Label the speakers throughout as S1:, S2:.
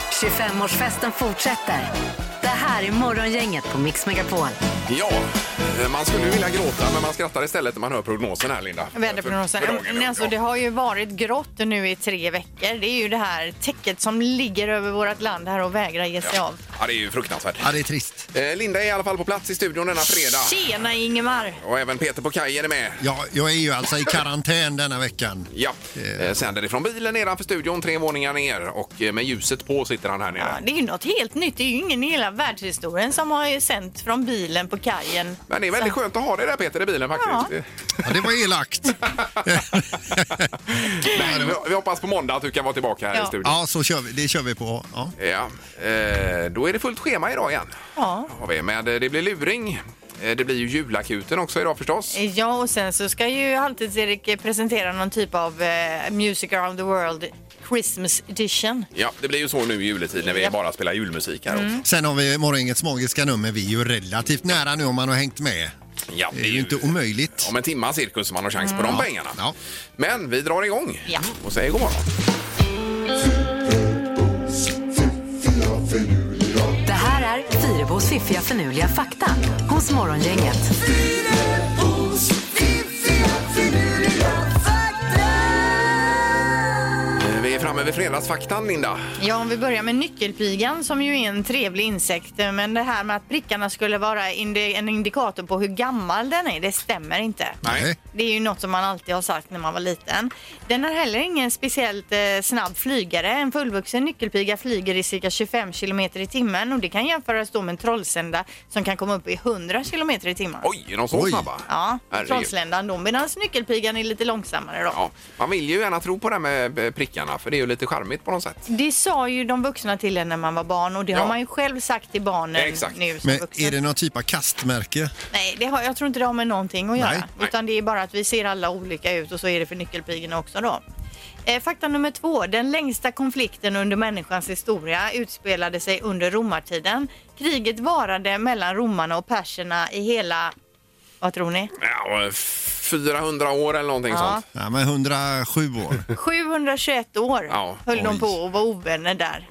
S1: 25-årsfesten fortsätter. Det här är Morgongänget på Mix Megapol.
S2: Ja, eh, man skulle ju vilja gråta men man skrattar istället när man hör prognosen här Linda.
S3: Väderprognosen.
S2: För- för dagen
S3: Men
S2: då,
S3: alltså,
S2: ja.
S3: det har ju varit grått nu i tre veckor. Det är ju det här täcket som ligger över vårt land här och vägrar ge sig av.
S2: Ja, det är ju fruktansvärt.
S4: Ja, det är trist.
S2: Eh, Linda är i alla fall på plats i studion denna fredag.
S3: Tjena Ingemar!
S2: Och även Peter på kajen är med.
S4: Ja, jag är ju alltså i karantän denna veckan.
S2: Ja, eh, sänder ifrån bilen nedanför studion, tre våningar ner och eh, med ljuset på sitter han här
S3: Ja,
S2: nere.
S3: det är ju något helt nytt. Det är ju ingen i hela världshistorien som har ju sänt från bilen på kajen.
S2: Men det är väldigt skönt att ha dig där Peter i bilen faktiskt. Eh.
S4: Ja, det var elakt.
S2: Nej, vi, vi hoppas på måndag att du kan vara tillbaka här i
S3: Ja.
S2: studion.
S4: Ja, så kör vi. Det kör vi på. Ja.
S2: Ja. Eh, då är det fullt schema idag igen.
S3: Ja.
S2: Har vi. Men eh, det blir luring. Eh, Det blir ju julakuten också idag förstås.
S3: Ja, och sen så ska ju alltid Erik presentera någon typ av eh, Music around the world Christmas edition.
S2: Ja, det blir ju så nu i juletid när vi
S3: Ja.
S2: bara spelar julmusik
S3: Mm.
S2: här också.
S4: Sen har vi morgongängets magiska nummer. Vi är ju relativt nära nu om man har hängt med.
S2: Ja,
S4: Det är ju inte omöjligt. Mm.
S2: om en timma cirkus som man har chans på de pengarna.
S4: Ja.
S2: Men vi drar igång
S3: Ja.
S2: och säger god morgon.
S1: Det här är Fyrebos fiffiga förnuliga fakta hos Morgongänget.
S2: Eh, Vi är framme vid fredagsfaktan, Linda.
S3: Ja, om vi börjar med nyckelpigan som ju är en trevlig insekt. eh, Men det här med att prickarna skulle vara indi- en indikator på hur gammal den är, det stämmer inte.
S4: Nej.
S3: Det är ju något som man alltid har sagt när man var liten. Den är heller ingen speciellt eh, snabb flygare. En fullvuxen nyckelpiga flyger i cirka 25 kilometer i timmen och det kan jämföras då med en trollsända som kan komma upp i 100 kilometer i timmen.
S2: Oj, är de så
S4: Oj.
S2: snabba?
S3: Ja,
S2: Herregud.
S3: trollsländan då, medan nyckelpigan är lite långsammare då.
S2: Ja, man vill ju gärna tro på det här med eh, prickarna för det är ju lite charmigt på något sätt.
S3: Det sa ju de vuxna till en när man var barn och det
S2: Ja.
S3: har man ju själv sagt till barnen
S2: Exakt.
S3: nu som
S4: Men
S3: vuxen.
S4: är det någon typ av kastmärke?
S3: Nej, det har, jag tror inte det har med någonting att göra.
S4: Nej.
S3: Utan det är bara att vi ser alla olika ut och så är det för nyckelpigorna också då. Eh, fakta nummer två. Den längsta konflikten under människans historia utspelade sig under romartiden. Kriget varade mellan romarna och perserna i hela, vad tror ni?
S2: Ja, eh, 400 år eller någonting sånt.
S4: Ja, men 107 år.
S3: 721 år
S2: Ja,
S3: höll de
S4: oj.
S3: på och var ovänner där.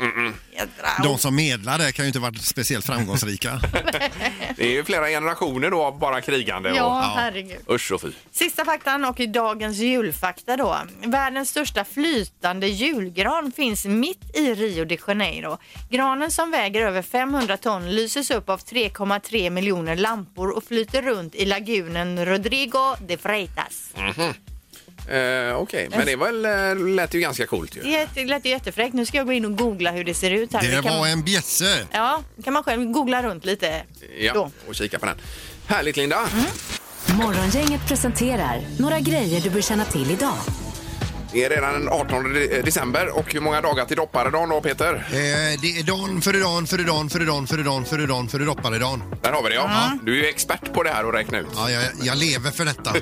S3: Jädra.
S4: De som medlar där kan ju inte ha varit speciellt framgångsrika.
S2: Det är ju flera generationer då av bara krigande.
S3: Ja, herregud.
S2: Och... Usch och fy.
S3: Sista faktan och i dagens julfakta då. Världens största flytande julgran finns mitt i Rio de Janeiro. Granen som väger över 500 ton lyses upp av 3,3 miljoner lampor och flyter runt i lagunen Rodrigo de Freitas.
S2: Mhm. Eh, Okej, men det var, väl, eh, lät ju ganska coolt ju.
S3: Det är- det lät ju jättefräckt. Nu ska jag gå in och googla hur det ser ut här.
S4: Det
S3: kan,
S4: var en bjässe.
S3: Ja, kan man själv googla runt lite
S2: Ja,
S3: då.
S2: och kika på den. Härligt Linda!
S1: Morgongänget presenterar några grejer du bör känna till idag.
S2: Det är redan den 18 de- eh, december och hur många dagar till dopparedagen då Peter?
S4: Eh, Det är dan före dan före dan före dan före dan före dan före dopparedan.
S2: Där har vi det ja. Du är ju expert på det här och räkna ut.
S4: Ja, jag, jag lever för detta.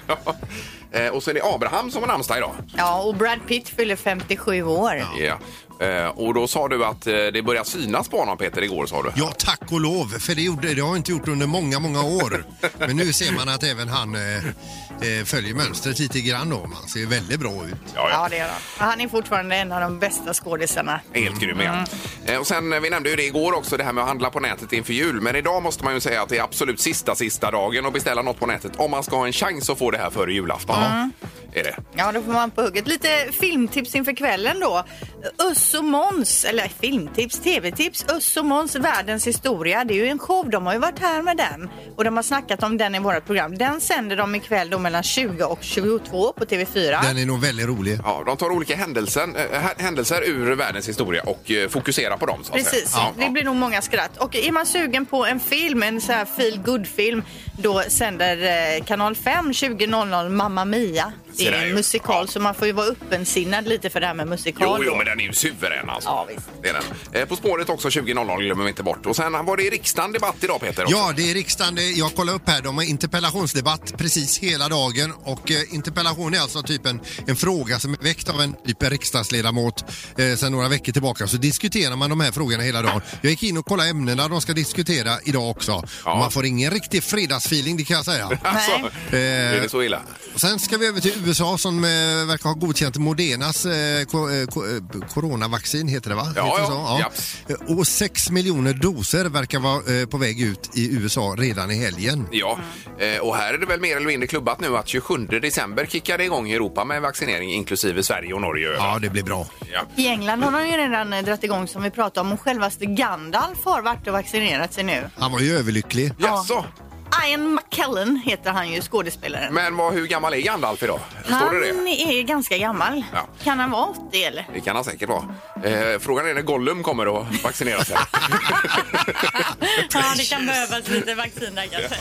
S2: Eh, och så är det Abraham som har namnsdag idag.
S3: Ja, och Brad Pitt fyller 57 år.
S2: Ja. Eh, och då sa du att eh, det börjar synas på honom Peter igår sa du.
S4: Ja, tack och lov, för det, gjorde, det har jag inte gjort under många, många år. Men nu ser man att även han eh, eh, följer mönstret lite grann då. Man ser väldigt bra ut.
S3: Ja, det är han. Han är fortfarande en av de bästa skådisarna.
S2: Helt grym igen. Eh, Och sen, eh, vi nämnde ju det igår också, det här med att handla på nätet inför jul. Men idag måste man ju säga att det är absolut sista, sista dagen att beställa något på nätet om man ska ha en chans att få det här före julafton. Är det.
S3: Ja, då får man på hugget. Lite filmtips inför kvällen då. Öss och Måns, eller filmtips, tv-tips. Öss och Måns, världens historia. Det är ju en show, de har ju varit här med den. Och de har snackat om den i vårt program. Den sänder de ikväll då mellan 20 och 22 på TV4.
S4: Den är nog väldigt rolig.
S2: Ja, de tar olika händelser, eh, hä- händelser ur världens historia och eh, fokuserar på dem. Så att
S3: Precis,
S2: säga.
S3: det blir nog många skratt. Och är man sugen på en film, en så här feel good film då sänder eh, kanal 5 20.00 Mamma Mia. Det
S2: Se där
S3: är
S2: ju.
S3: en musikal
S2: Ja.
S3: så man får ju vara öppensinnad lite för det här med musikal.
S2: Jo, jo,
S3: då.
S2: men den är ju suverän alltså.
S3: Ja, visst.
S2: Det är den. Eh, På spåret också 20.00 glömmer vi inte bort. Och sen var det i riksdagen debatt idag Peter. också.
S4: Ja, det är riksdagen. Det- Jag kollar upp här. De har interpellationsdebatt precis hela dagen. Och eh, interpellation är alltså typ en, en fråga som är väckt av en typ en riksdagsledamot eh, sedan några veckor tillbaka. Så diskuterar man de här frågorna hela dagen. Jag gick in och kollade ämnena de ska diskutera idag också.
S2: Ja.
S4: Och man får ingen riktig fredagsfeeling, det kan jag säga. Eh,
S2: Alltså,
S3: Nej.
S2: Är det så illa?
S4: Och Sen ska vi över till USA som eh, verkar ha godkänt Modernas eh, ko- eh, ko- eh, coronavaccin heter det va?
S2: Ja,
S4: heter det
S2: ja.
S4: så? Eh,
S2: Japs.
S4: Och 6 miljoner doser verkar vara eh, på väg ut i USA redan i helgen.
S2: Ja, eh, och här är det väl mer eller mindre klubbat nu att 27 december kickar det igång i Europa med vaccinering inklusive Sverige och Norge.
S4: Ja, det blir bra.
S2: Ja.
S5: I England har de ju redan eh, dragit igång som vi pratade om och självaste Gandalf har varit och vaccinerat sig nu.
S4: Han var ju överlycklig.
S2: Jaså?
S5: Ian McKellen heter han ju, skådespelaren.
S2: Men vad, hur gammal är Gandalf idag? Står
S5: han
S2: det det?
S5: är ganska gammal.
S2: Ja.
S5: Kan han vara 80 eller?
S2: Det kan han säkert vara. Eh, frågan är när Gollum kommer att vaccinera sig.
S3: Ja, det kan behövas lite vaccin där kanske.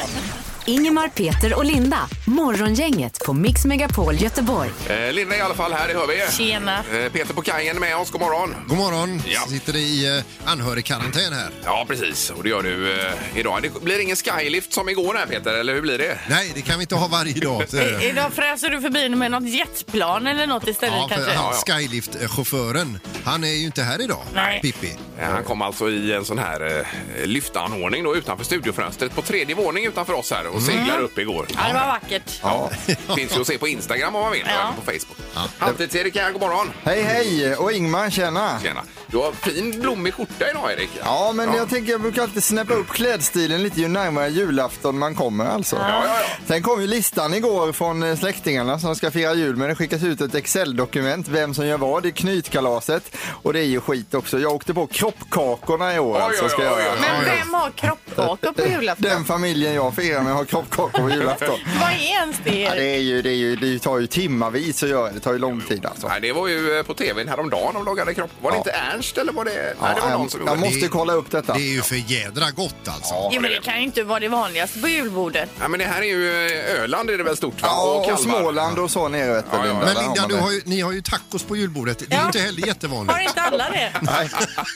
S1: Ingemar, Peter och Linda. Morgongänget på Mix Megapol Göteborg.
S2: eh, Linda är i alla fall här, det hör vi.
S5: Tjena.
S2: Eh, Peter på kajen med oss, god morgon.
S4: God morgon.
S2: Ja.
S4: Sitter i eh, anhörigkarantän här.
S2: Ja, precis. Och det gör du eh, idag. Det blir ingen skylift som igår här, Peter, eller hur blir det?
S4: Nej, det kan vi inte ha varje dag. Så är det.
S3: I- Idag fräser du förbi med något jetplan eller något istället
S4: Ja, för
S3: kanske?
S4: han,
S2: Ja,
S4: Skylift-chauffören, han är ju inte här idag.
S3: Nej.
S4: Pippi.
S2: Eh, Han kom alltså i en sån här eh, lyftanordning då utanför studiofönstret på tredje våning utanför oss här och
S6: Mm.
S2: seglar upp igår.
S3: Ja, det var vackert.
S2: Ja, finns ju att se på Instagram om man vill, och även på Facebook. Halvtids-Erik här, god morgon.
S6: Hej hej och Ingmar tjena!
S2: Tjena. Du har fin blommig skjorta idag, Erik.
S6: Ja men jag tänker jag brukar alltid snäppa upp klädstilen lite ju närmare julafton man kommer alltså.
S2: Ja, ja, ja.
S6: Sen kom ju listan igår från eh, släktingarna som ska fira jul men det skickas ut ett Excel-dokument vem som gör vad i knytkalaset. Och det är ju skit också. Jag åkte på kroppkakorna i år
S2: Oj,
S6: alltså.
S2: oj,
S6: Ska
S2: oj,
S6: jag
S2: oj.
S6: göra.
S5: Men
S4: Ja, ja.
S5: vem har kroppkakor på julafton?
S6: Den familjen jag firar med har kroppkakor på julafton.
S5: Vad är ens det?
S6: Ja,
S5: Erik?
S6: det, är ju, det, är ju, det tar ju timmavis att göra det. Det tar ju lång tid alltså.
S2: Nej, det var ju eh, på tvn häromdagen de lagade kropp. Var det inte Ernst eller var det? Nej, det var någon som
S6: jag, jag
S2: gjorde det.
S6: måste kolla upp detta.
S4: Det är ju för jädra gott alltså.
S2: Ja,
S5: Jo,
S2: det
S5: men det
S2: är det.
S5: kan ju inte vara det vanligaste på julbordet.
S2: Ja, men det här är ju eh, Öland är det väl stort va?
S6: Ja, och,
S2: Kalmar.
S6: Småland och så nere vet du.
S2: Ja, ja.
S6: Linda,
S4: Men
S6: där har
S4: Linda,
S6: man
S4: du
S6: det.
S4: har ju, ni har ju tacos på julbordet. Det är ju inte heller jättevanligt.
S3: Har inte alla det?
S6: Nej,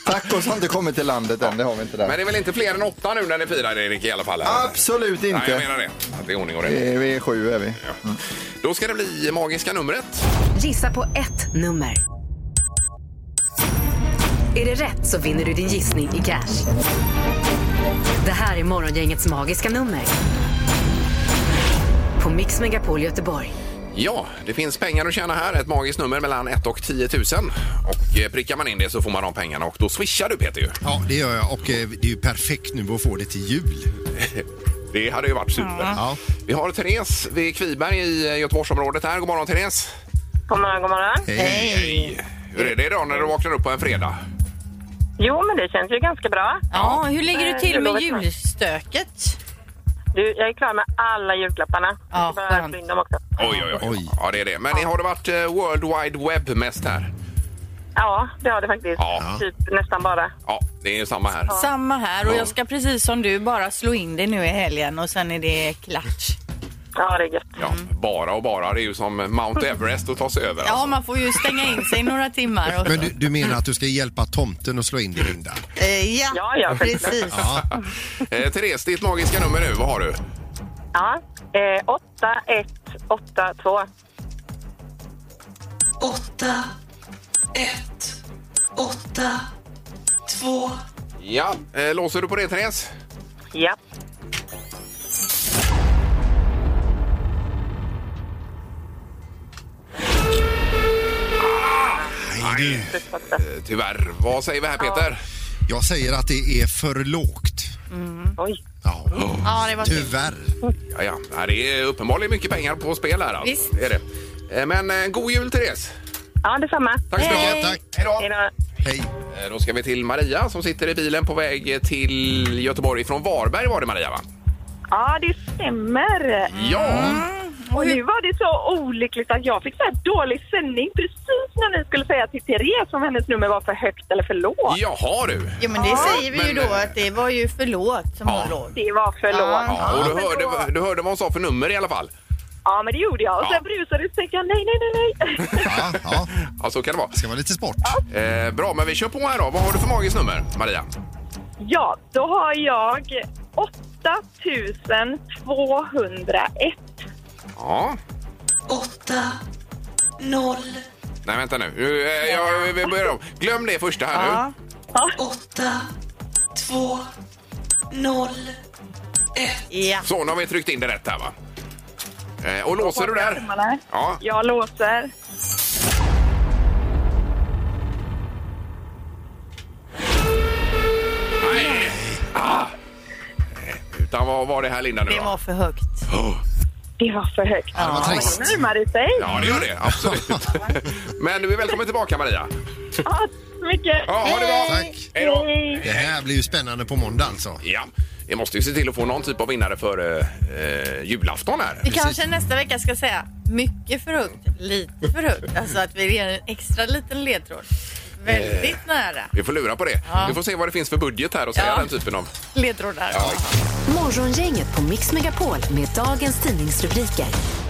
S6: tacos har inte kommit till landet än, det har vi inte där.
S2: Men det är väl inte fler än åtta nu när ni firar Erik i alla fall? Här.
S6: Absolut
S2: Nej, jag
S6: inte.
S2: menar det. Att det är ordning och reda.
S6: Vi är- vi är sju är vi.
S2: Ja. Då ska det bli magiska numret.
S1: Gissa på ett nummer. Är det rätt så vinner du din gissning i cash. Det här är Morgongängets magiska nummer. På Mix Megapol Göteborg.
S2: Ja, det finns pengar att tjäna här. Ett magiskt nummer mellan 1 och 10 000. Och eh, prickar man in det så får man de pengarna och då swishar du Peter ju.
S4: Ja, det gör jag. Och eh, det är ju perfekt nu att få det till jul.
S2: Det hade ju varit super.
S4: Ja.
S2: Vi har Therese vid Kviberg i eh, Göteborgsområdet här. God morgon Therese!
S7: God morgon, god morgon.
S4: Hej.
S2: Hej! Hur är det idag när du vaknar upp på en fredag?
S7: Jo, men det känns ju ganska bra.
S3: Ja, hur ligger du
S7: Eh,
S3: till
S7: jag
S3: med
S7: lovar snart.
S3: julstöket?
S7: Du, jag är klar med alla julklapparna.
S3: Ja,
S7: jag
S3: skönt.
S7: ska in dem också.
S2: Oj, oj, oj.
S4: Oj.
S2: Ja, det är det. Men har det varit eh, World Wide Web mest här?
S7: Ja, det har det faktiskt.
S2: Ja.
S7: Typ nästan bara.
S2: Ja, det är ju samma här.
S3: Samma här och jag ska precis som du bara slå in det nu i helgen och sen är det klart.
S7: Ja, det är gött.
S2: Ja, bara och bara. Det är ju som Mount Everest att ta sig över.
S3: Ja, man får ju stänga in sig i några timmar. Och...
S4: Men du, du menar att du ska hjälpa tomten att slå in det, Linda?
S5: Eh, ja,
S7: Ja, ja, självklart.
S5: precis.
S2: alltså. Eh, Therese, ditt magiska nummer nu, vad har du?
S7: Ja. Eh, 8, 1, 8, 2.
S8: åtta, ett, åtta, två.
S2: Ja. Eh, låser du på det, Therese?
S7: Ja.
S4: Nej, du.
S2: Eh, tyvärr. Vad säger vi här, Peter?
S4: Jag säger att det är för lågt.
S7: Oj.
S4: Ja,
S5: Ja, det var synd.
S4: tyvärr.
S2: Ja, ja. ja det är uppenbarligen mycket pengar på spel här. Alltså.
S3: Visst.
S2: Är det. Eh, Men eh, god jul, Therese!
S7: Ja, detsamma.
S2: Tack så
S4: Hej.
S2: mycket.
S4: Tack.
S2: Hej då.
S7: Hej då.
S4: Hej.
S2: Eh, Då ska vi till Maria som sitter i bilen på väg till Göteborg från Varberg var det Maria va?
S9: Ja, det stämmer. Mm.
S2: Ja,
S9: Och nu var det så olyckligt att jag fick så här dålig sändning precis när ni skulle säga till Therese om hennes nummer var för högt eller för lågt.
S2: jaha du.
S5: Jo, men det säger vi ju
S2: Men, eh,
S5: då att det var ju förlåt som hon låg.
S9: Det var för lågt.
S2: Ja, och du
S9: men
S2: hörde,
S9: då-
S2: du hörde vad hon sa för nummer i alla fall.
S9: Ja, men det gjorde jag. Och
S2: Ja.
S9: sen brusade det och tänkte jag nej, nej, nej, nej.
S4: Ja, ja.
S2: Ja, så kan det
S4: Ska vara lite sport.
S2: vara. Eh, bra, men vi kör på här då. Vad har du för magiskt nummer, Maria?
S9: ja, då har jag 8201.
S2: Ja.
S8: Åtta, noll,
S2: Nej, vänta nu. Nu, eh, jag, vi börjar om. Glöm det första här
S5: Ja.
S2: nu.
S8: åtta, två, noll, ett.
S5: Ja.
S2: Så, nu har vi tryckt in det rätt här va? Eh, och låser du där?
S9: Tummarna.
S2: Ja.
S9: Jag låser.
S2: vad Ah. Eh, var det här Linda nu
S3: Det
S2: då?
S3: var för högt.
S2: Oh,
S9: Det var för högt.
S4: det var trist.
S9: Nu närmar det sig.
S2: Ja, det gör det. Absolut. Men du är välkommen tillbaka Maria.
S9: Ja, tack så mycket.
S2: Ja, ha det bra.
S4: Tack.
S2: Hej då.
S4: Det här blir ju spännande på måndag alltså.
S2: Ja, vi måste ju se till att få någon typ av vinnare för eh, eh, julafton här.
S3: Vi kanske nästa vecka ska säga mycket för högt, lite för högt. Alltså att vi ger en extra liten ledtråd.
S4: Eh.
S3: Väldigt nära
S2: Eh, Vi får lura på det. Vi får se vad det finns för budget här och säga
S3: Ja.
S2: den typen av...
S3: ledtrådar.
S1: Morgongänget på Mix Megapol med dagens tidningsrubriker.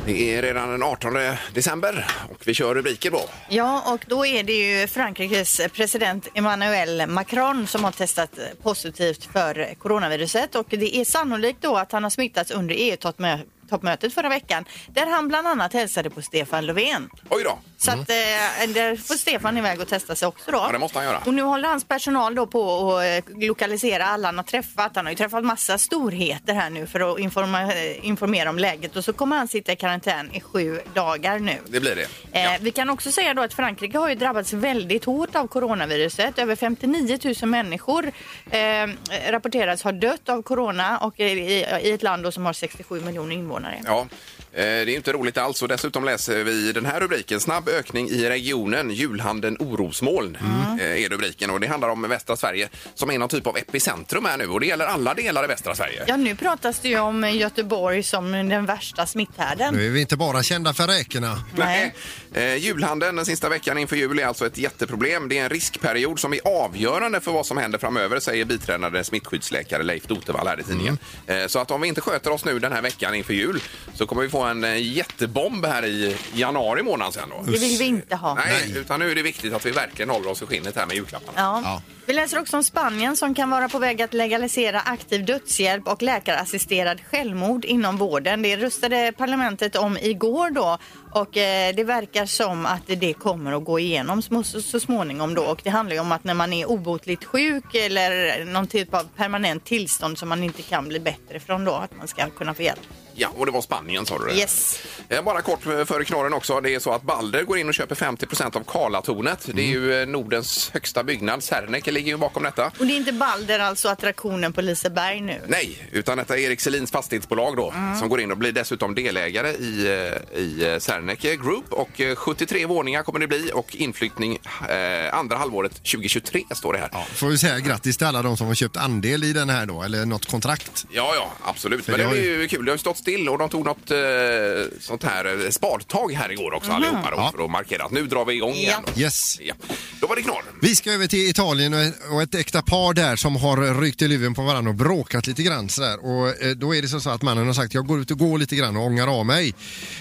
S2: Det är redan den 18 december och vi kör rubriker då.
S3: Ja, och då är det ju Frankrikes president Emmanuel Macron som har testat positivt för coronaviruset och det är sannolikt då att han har smittats under EU-toppmötet förra veckan där han bland annat hälsade på Stefan Löfven.
S2: Oj då! Mm.
S3: Så att, eh, där får Stefan iväg och testa sig också då.
S2: Ja, det måste han göra.
S3: Och nu håller hans personal då på att eh, lokalisera alla han har träffat. Han har ju träffat massa storheter här nu för att informa, eh, informera om läget och så kommer han sitta i karantän i sju dagar nu.
S2: Det blir det.
S3: Eh,
S2: Ja.
S3: vi kan också säga då att Frankrike har ju drabbats väldigt hårt av coronaviruset. Över 59 000 människor eh, rapporteras ha dött av corona och i, i, i ett land då som har 67 miljoner invånare.
S2: Ja, eh, det är ju inte roligt alls och dessutom läser vi den här rubriken. Snabb ökning i regionen, julhandeln orosmoln
S3: Mm.
S2: eh, är rubriken och det handlar om västra Sverige som är någon typ av epicentrum här nu och det gäller alla delar i västra Sverige.
S3: Ja, nu pratas det ju om Göteborg som den värsta smitthärden.
S4: Nu är vi inte bara kända för räkorna.
S2: Nej. Eh, julhandeln den sista veckan inför jul är alltså ett jätteproblem. Det är en riskperiod som är avgörande för vad som händer framöver säger biträdande smittskyddsläkare Leif Dotevall här i tidningen.
S3: Mm.
S2: Eh, så att om vi inte sköter oss nu den här veckan inför jul så kommer vi få en eh, jättebomb här i januari månad sen då.
S3: Det vill vi inte ha.
S2: Nej, utan nu är det viktigt att vi verkligen håller oss i skinnet här med julklapparna.
S3: Ja.
S4: Ja.
S3: Vi läser också om Spanien som kan vara på väg att legalisera aktiv dödshjälp och läkarassisterad självmord inom vården. Det röstade parlamentet om igår då och eh, det verkar som att det kommer att gå igenom så, så småningom då. Och det handlar ju om att när man är obotligt sjuk eller någon typ av permanent tillstånd som man inte kan bli bättre från då, att man ska kunna få hjälp.
S2: Ja, och det var Spanien sa du det?
S3: Yes.
S2: Eh, Bara kort före knorren också. Det är så att Balder går in och köper 50 av Karlatornet. Det är
S4: Mm.
S2: ju eh, Nordens högsta byggnad. Serneke ligger ju bakom detta.
S3: Och det är inte Balder, alltså attraktionen på Liseberg nu.
S2: Nej, utan detta är Erik Selins fastighetsbolag då
S3: Mm.
S2: som går in och blir dessutom delägare i, eh, i eh, Serneke Group och eh, 73 våningar kommer det bli och inflyttning eh, andra halvåret 2023 står det här.
S4: Ja, får vi säga grattis till alla de som har köpt andel i den här då, eller något kontrakt.
S2: Ja, ja, absolut. Men
S4: det
S2: det
S4: har
S2: är
S4: ju-
S2: ju kul. Det har ju stått still och de tog något eh, sånt här eh, spadtag här igår också allihopa då,
S4: Ja.
S2: för att markera att nu drar vi igång igen.
S4: Yes.
S2: Ja. Då var det knorr.
S4: Vi ska över till Italien och ett- och ett äkta par där som har ryckt i luven på varandra och bråkat lite grann sådär. Och eh, då är det så så att mannen har sagt jag går ut och går lite grann och ångar av mig.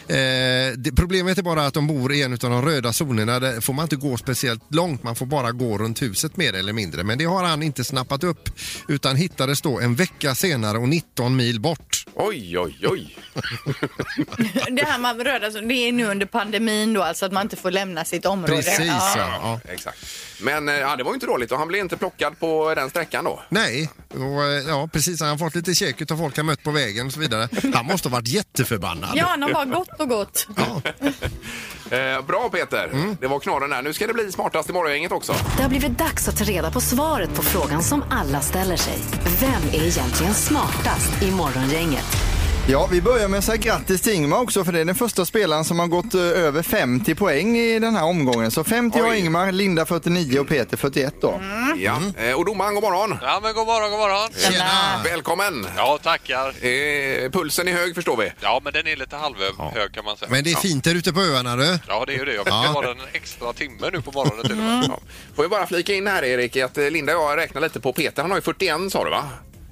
S4: Eh, det, problemet är bara att de bor i en av de röda zonerna. Där får man inte gå speciellt långt. Man får bara gå runt huset mer eller mindre. Men det har han inte snappat upp utan hittades då en vecka senare och 19 mil bort.
S2: Oj, oj, oj.
S3: Det här med röda, zon, det är nu under pandemin då, alltså att man inte får lämna sitt område.
S4: Precis
S3: Ja.
S4: ja. ja.
S2: Exakt. Men eh, ja, det var ju inte dåligt och han blev inte plockad på den sträckan då.
S4: Nej, och, eh, ja precis. Han har fått lite käk av folk han mött på vägen och så vidare. Han måste ha varit jätteförbannad.
S3: Ja, han har bara gått och gått.
S2: Eh, bra Peter,
S4: Mm.
S2: det var knorren här. Nu ska det bli smartast i morgongänget också.
S1: Det har blivit dags att ta reda på svaret på frågan som alla ställer sig. Vem är egentligen smartast i Morgongänget?
S6: Ja, vi börjar med att säga grattis till Ingmar också för det är den första spelaren som har gått eh, över 50 poäng i den här omgången. Så 50 har
S2: Oj.
S6: Ingmar, Linda 49 och Peter 41 då.
S4: Mm.
S2: Ja. Eh, och domaren, god morgon. Eh,
S10: Ja, men god morgon, god morgon.
S4: Tjena!
S2: Välkommen.
S10: Ja, tackar.
S2: Eh, pulsen är hög förstår vi.
S10: Ja, men den är lite halvhög kan man säga.
S4: Men det är fint där ute på öarna du.
S10: Ja, det är ju det. Jag fick
S4: Ja.
S10: vara en extra timme nu på morgonen till och med.
S2: Ja. Mm. Får jag bara flika in här Erik, att eh, Linda och jag räknar lite på Peter. Han har ju 41 sa du va?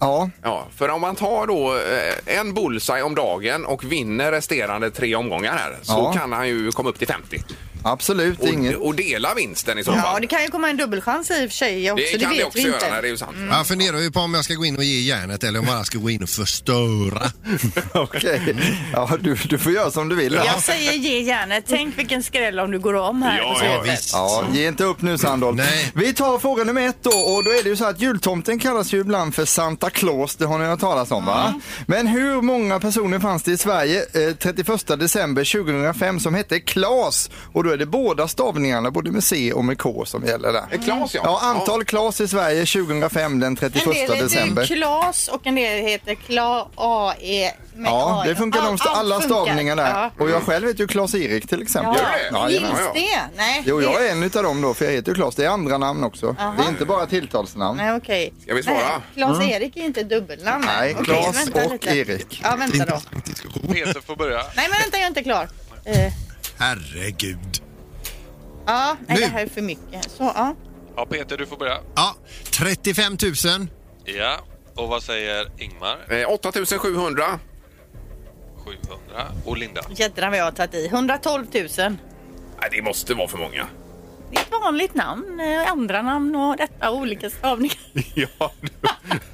S6: Ja,
S2: Ja, för om man tar då eh, en bullseye om dagen och vinner resterande tre omgångar här så
S6: Ja.
S2: kan han ju komma upp till 50.
S6: absolut. Inget.
S2: Och, och dela vinsten i så
S3: Ja,
S2: fall.
S3: det kan ju komma en dubbelchans i och för sig också, det,
S2: kan
S3: vet
S2: det också
S3: vi
S2: göra,
S3: inte.
S2: nej, det är ju sant.
S4: Mm. Jag funderar ju på om jag ska gå in och ge järnet eller om jag bara ska gå in och förstöra.
S6: Okej. Ja, du, du får göra som du vill. här.
S3: Jag säger ge järnet. Tänk vilken skräll om du går om här.
S2: Ja,
S6: Alltså,
S3: på
S2: ja,
S3: slutet.
S4: visst.
S6: Ja, ge inte upp nu Sandholt.
S4: Nej.
S6: Vi tar fråga nummer ett då och då är det ju så att jultomten kallas ju ibland för Santa Claus, det har ni hört talas om va? Men hur många personer fanns det i Sverige eh, 31 december 2005 som hette Claes och då då är det båda stavningarna, både med C och med K som gäller där.
S2: Mm. Klas, ja.
S6: ja antal Klas i Sverige 2005 den
S3: En
S6: 31
S3: del heter
S6: december.
S3: Klas och en del heter Kla A-E. med
S6: Ja,
S3: A.
S6: det funkar de,
S3: Allt
S6: alla
S3: funkar.
S6: stavningarna där.
S3: Ja.
S6: Och jag själv heter ju Klas-Erik till exempel.
S3: Ja.
S6: Ja,
S3: Gills
S6: jajamän.
S3: det? Nej.
S6: Jo, jag är en utav dem då, för jag heter ju Klas. Det är andra namn också.
S3: Jaha.
S6: Det är inte bara tilltalsnamn.
S3: Nej, okej.
S2: Ska vi svara?
S3: Nej, Klas-Erik är inte dubbelnamn.
S6: Mm. Nej,
S3: Okej,
S6: Klas
S3: vänta
S6: och
S3: lite.
S6: Erik.
S3: Ja, vänta då.
S10: Peter får börja.
S3: Nej, men vänta, jag är inte klar. Eh,
S4: Herregud.
S3: ja, nej,
S4: Nu.
S3: det här är för mycket. Så, ja.
S10: Ja, Peter, du får börja.
S4: Ja, 35 000.
S10: Ja, och vad säger Ingmar?
S2: Eh, 8700.
S10: 700. Och Linda?
S3: Jädrar vad jag har tagit i. 112 000. Det är
S2: Nej, det måste vara för många.
S3: ett vanligt namn, eh, andra namn och detta och olika stavningar.
S2: ja,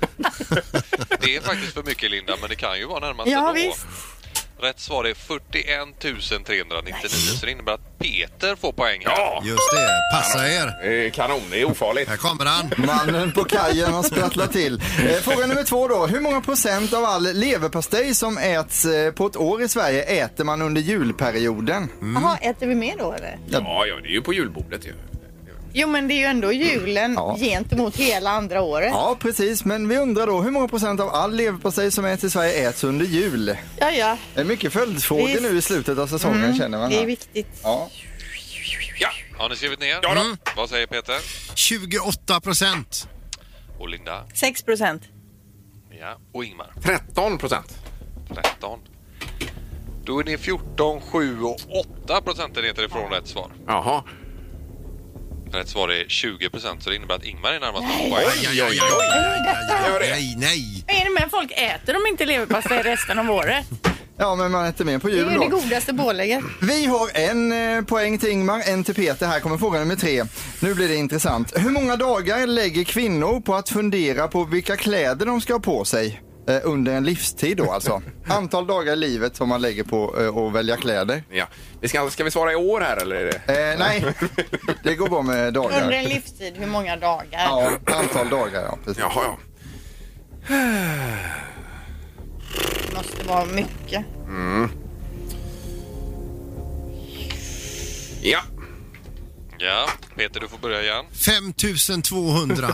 S10: Det är faktiskt för mycket Linda, men det kan ju vara närmast
S3: Ja,
S10: ändå.
S3: visst.
S10: Rätt svar är 41 399, så det innebär att Peter får poäng här.
S2: ja.
S4: Just det, passa er.
S2: Eh, Kanon, det är ofarligt.
S4: Här kommer han.
S6: Mannen på kajen har sprattlat till. Eh, Fråga nummer två då. Hur många procent av all leverpastej som äts eh, på ett år i Sverige äter man under julperioden?
S3: Jaha, äter vi mer då eller?
S2: Ja, ja, det är ju på julbordet ju.
S3: Jo, men det är ju ändå julen
S6: Ja.
S3: gentemot hela andra året.
S6: Ja, precis. Men vi undrar då hur många procent av all leverpastej som äts i Sverige äts under jul?
S3: Ja, ja.
S6: Det är mycket följdfrågor
S3: Visst.
S6: nu i slutet av säsongen känner man.
S3: Det är
S6: här.
S3: viktigt.
S6: Ja.
S2: Ja,
S10: Har ni skrivit ner?
S2: Ja då.
S10: Vad säger Peter?
S4: 28 Mm. procent.
S10: Och Linda?
S3: 6 procent.
S10: Ja. Och Ingmar?
S2: 13 procent.
S10: 13. Då är ni 14, 7 och 8 procentenheter ifrån rätt svar.
S2: Jaha.
S10: Rätt svar är 20 procent, så det innebär att Ingmar är närmast på
S2: Oj,
S10: poäng.
S2: oj, oj, oj. Gör det.
S4: Nej, nej.
S5: Är det med folk äter de inte leverpastej resten av året?
S6: ja, men man äter mer på
S3: Det
S6: jul
S3: är ju det
S6: då.
S3: godaste pålägget.
S6: Vi har en eh, poäng till Ingmar, en till Peter. Här kommer fråga nummer tre. Nu blir det intressant. Hur många dagar lägger kvinnor på att fundera på vilka kläder de ska ha på sig? Eh, under en livstid då alltså. Antal dagar i livet som man lägger på eh, att välja kläder.
S2: Ja. Vi ska, ska vi svara i år här eller? Är det?
S6: Eh, nej, det går bra med
S3: Under
S6: dagar.
S3: en livstid, hur många dagar?
S6: Ja, antal dagar ja. Precis.
S2: Jaha, ja.
S3: Det måste vara mycket.
S2: Mm. Ja.
S10: Ja, Peter du får börja igen.
S4: 5 200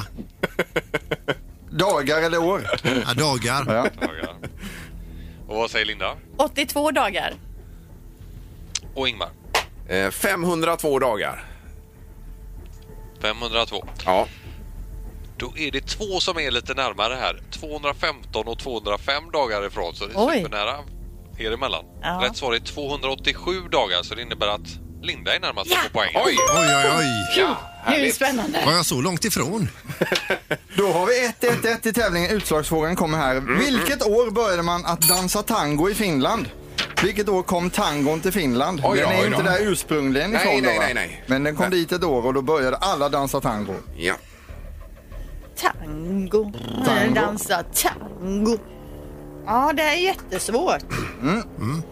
S6: Dagar eller år?
S4: ja, dagar.
S6: Ja.
S10: Dagar. Och vad säger Linda?
S5: 82 dagar.
S10: Och Ingmar?
S2: Eh, 502 dagar.
S10: 502.
S2: Ja.
S10: Då är det två som är lite närmare här. 215 och 205 dagar ifrån, så det är
S3: Oj.
S10: supernära er emellan.
S3: Ja.
S10: Rätt svar är 287 dagar, så det innebär att Linda är närmast på poäng.
S2: Oj!
S4: Oj, oj, oj.
S2: Ja,
S3: Nu är det
S2: härligt.
S3: spännande.
S4: Var jag så långt ifrån?
S6: Då har vi 1-1-1 i tävlingen. Utslagsfrågan kommer här.
S2: Mm.
S6: Vilket år började man att dansa tango i Finland? Vilket år kom tangon till Finland?
S2: Oj då,
S6: den är
S2: oj då.
S6: inte där ursprungligen
S2: Nej,
S6: ifrån då,
S2: nej,
S6: va?
S2: nej, nej.
S6: Men den kom
S2: Nej.
S6: dit ett år och då började alla dansa tango.
S2: Ja.
S3: Tango. tango. Dansa tango. Ja, det här är jättesvårt.
S4: Mm.
S3: Eh,
S2: Mm.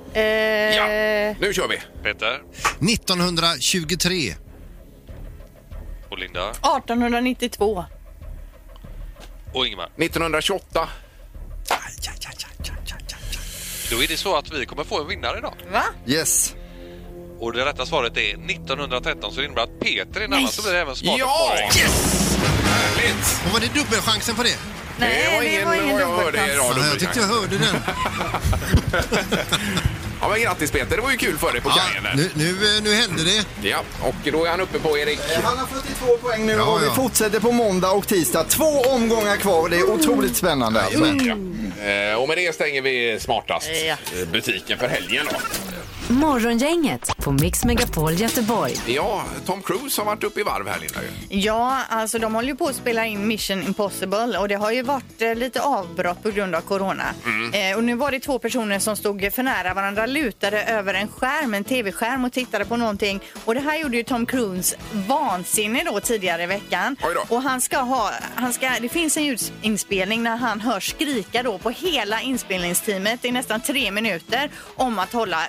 S2: Ja. Nu kör vi.
S10: Peter
S4: 1923.
S10: och Linda
S3: 1892.
S10: och Ingmar.
S2: 1928.
S10: Då är det så att vi kommer få en vinnare idag.
S3: Va?
S6: Yes.
S10: Och det rätta svaret är 1913 så det innebär att Peter är närmast och blir även smartast
S2: Ja!
S10: kvar.
S2: Yes! Härligt!
S4: Och var det dubbelchansen på det?
S3: Nej, det var ingen,
S2: jag hörde i
S3: dubbelchans.
S4: Ja,
S2: radion.
S4: jag tyckte jag hörde den.
S2: Ja, men grattis Peter, det var ju kul för dig på
S4: Ja,
S2: kajen. där.
S4: nu, nu, eh, nu hände det.
S2: Ja, och då är han uppe på Erik.
S6: Eh, Han har 42 poäng nu
S4: Ja,
S6: och vi
S4: ja.
S6: fortsätter på måndag och tisdag. Två omgångar kvar och det är otroligt spännande.
S2: Mm.
S6: Alltså.
S2: Eh, Och med det stänger vi smartast
S3: Ja.
S2: eh, butiken för helgen då.
S1: Morgongänget på Mix Megapol Göteborg.
S2: Ja, Tom Cruise har varit uppe i varv här Linda. ju.
S3: Ja, alltså de håller ju på att spela in Mission Impossible och det har ju varit eh, lite avbrott på grund av corona. Eh, och nu var det två personer som stod för nära varandra, lutade över en skärm, en tv-skärm och tittade på någonting. Och det här gjorde ju Tom Cruise vansinnig då tidigare i veckan.
S2: Oj då.
S3: Och han ska ha, han ska, det finns en ljudinspelning när han hörs skrika då på hela inspelningsteamet i nästan tre minuter om att hålla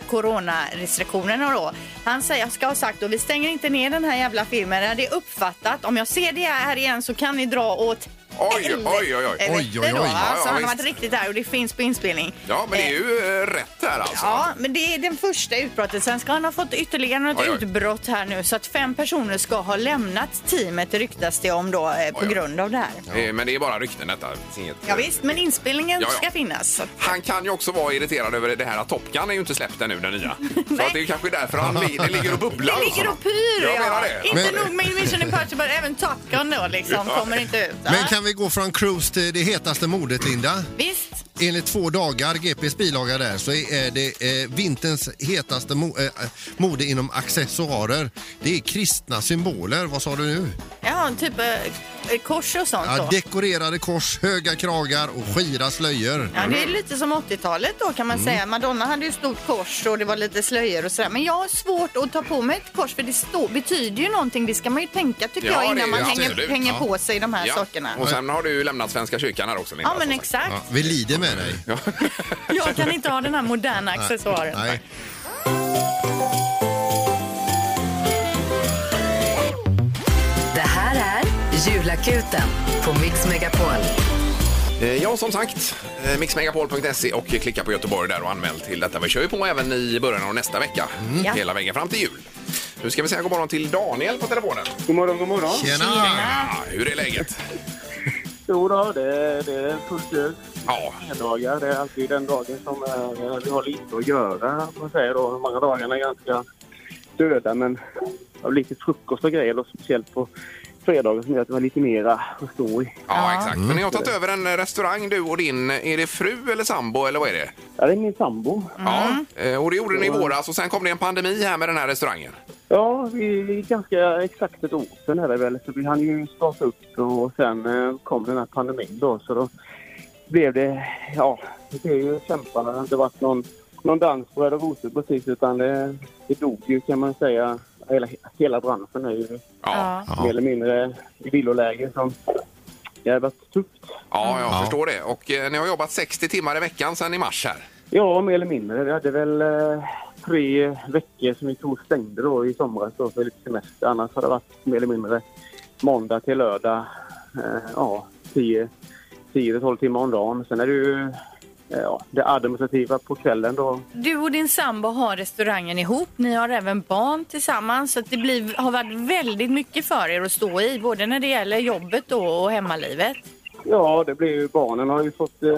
S3: coronarestriktionerna då. Han säger, jag ska ha sagt då, vi stänger inte ner den här jävla filmen, det är uppfattat. Om jag ser det här igen så kan ni dra åt
S2: Oj, oj, oj, oj.
S3: helvete
S4: Oj, oj, oj.
S3: Då, va?
S2: Ja,
S3: så
S2: ja,
S3: han har varit
S2: visst.
S3: riktigt där och det finns på inspelning.
S2: Ja, men det är ju eh, rätt här alltså?
S3: Ja, men det är den första utbrottet. Sen ska han ha fått ytterligare något
S2: Oj, oj.
S3: utbrott här nu så att fem personer ska ha lämnat teamet ryktas det om då eh, på
S2: Oj, oj.
S3: grund av det här.
S2: Eh, Men det är bara rykten detta. Det finns Inget, eh,
S3: Ja, visst, men inspelningen
S2: Ja, ja.
S3: ska finnas.
S2: Han kan ju också vara irriterad över det här att Top Gun är ju inte släppt ännu, den nya. Så att det är kanske därför han li- det ligger och bubblar.
S3: Det
S2: hos
S3: ligger
S2: honom.
S3: och pyr!
S2: Jag menar
S3: ja.
S2: det.
S3: Inte
S2: Men-
S3: nog med Mission Impossible, även Top Gun då liksom
S2: Ja.
S3: kommer inte ut. va?
S4: Men kan vi gå från cruise till det hetaste modet, Linda?
S3: Visst,
S4: Enligt två dagar, GPs bilaga där, så är det eh, vinterns hetaste mo eh, mode inom accessoarer. Det är kristna symboler. Vad sa du nu?
S3: ja, typ eh, kors och sånt
S4: Ja,
S3: då.
S4: dekorerade kors, höga kragar och skira slöjor.
S3: Ja,
S2: Mm.
S3: det är lite som 80-talet då kan man säga. Madonna hade ju stort kors och det var lite slöjor och sådär. Men jag har svårt att ta på mig ett kors för det står- betyder ju någonting. Det ska man ju tänka tycker
S2: Ja,
S3: jag
S2: det är
S3: innan man
S2: ju
S3: hänger,
S2: absolut.
S3: hänger
S2: Ja.
S3: på sig de här
S2: Ja.
S3: sakerna.
S2: Och sen har du ju lämnat Svenska kyrkan här också, Linda.
S3: Ja men
S2: som sagt.
S3: exakt.
S4: Ja, vi lider med dig.
S3: Jag kan inte ha den här moderna accessoaren.
S4: Nej.
S1: Det här är Julakuten på Mix Megapol.
S2: Eh, Ja, som sagt, eh, mixmegapol.se och klicka på Göteborg där och anmäl till detta. Vi kör ju på även i början av nästa vecka,
S3: Mm. Ja.
S2: hela vägen fram till jul. Nu ska vi säga god morgon till Daniel på telefonen.
S11: God morgon, god morgon.
S4: Tjena!
S2: Ja, hur är läget?
S11: Jo då, det, är- det är fullt ös.
S2: Ja,
S11: Dagar, det är alltid den dagen som är, vi har lite att göra. Man säger då, många dagarna är ganska döda, men av lite frukost och grejer, och speciellt på fredagar som gör att det var lite mera att stå i.
S2: ja exakt. Men ni har tagit över en eh, restaurang du och din, eh, är det fru eller sambo eller vad är det?
S11: Ja, det är min sambo.
S2: Ja, eh, och det gjorde ni i våras och sen kom det en pandemi här med den här restaurangen.
S11: Ja, vi vi är ganska exakt ett år sedan är det väl, så vi hann ju starta upp och sen eh, kom den här pandemin då, så då blev det, ja, det blev ju kämparna. Det har inte varit någon, någon dans på Röda Rosor precis, utan det, det dog ju kan man säga. Hela, hela branschen är ju
S2: Ja,
S4: Ja.
S11: mer eller mindre i villoläge, så det har varit tufft. Mm.
S2: ja jag
S4: Ja.
S2: förstår det. Och eh, ni har jobbat 60 timmar i veckan sedan i mars här.
S11: Ja, mer eller mindre. Vi hade väl eh, tre veckor som vi tog och stängde då i somras då för lite semester. Annars har det varit mer eller mindre måndag till lördag. Eh, ja, 10 10-12 timmar om dagen. Sen är det ju eh, ja, det administrativa på kvällen då.
S3: Du och din sambo har restaurangen ihop. Ni har även barn tillsammans. Så att det blir, har varit väldigt mycket för er att stå i. Både när det gäller jobbet då och hemmalivet.
S11: Ja, det blir ju barnen har ju fått, eh,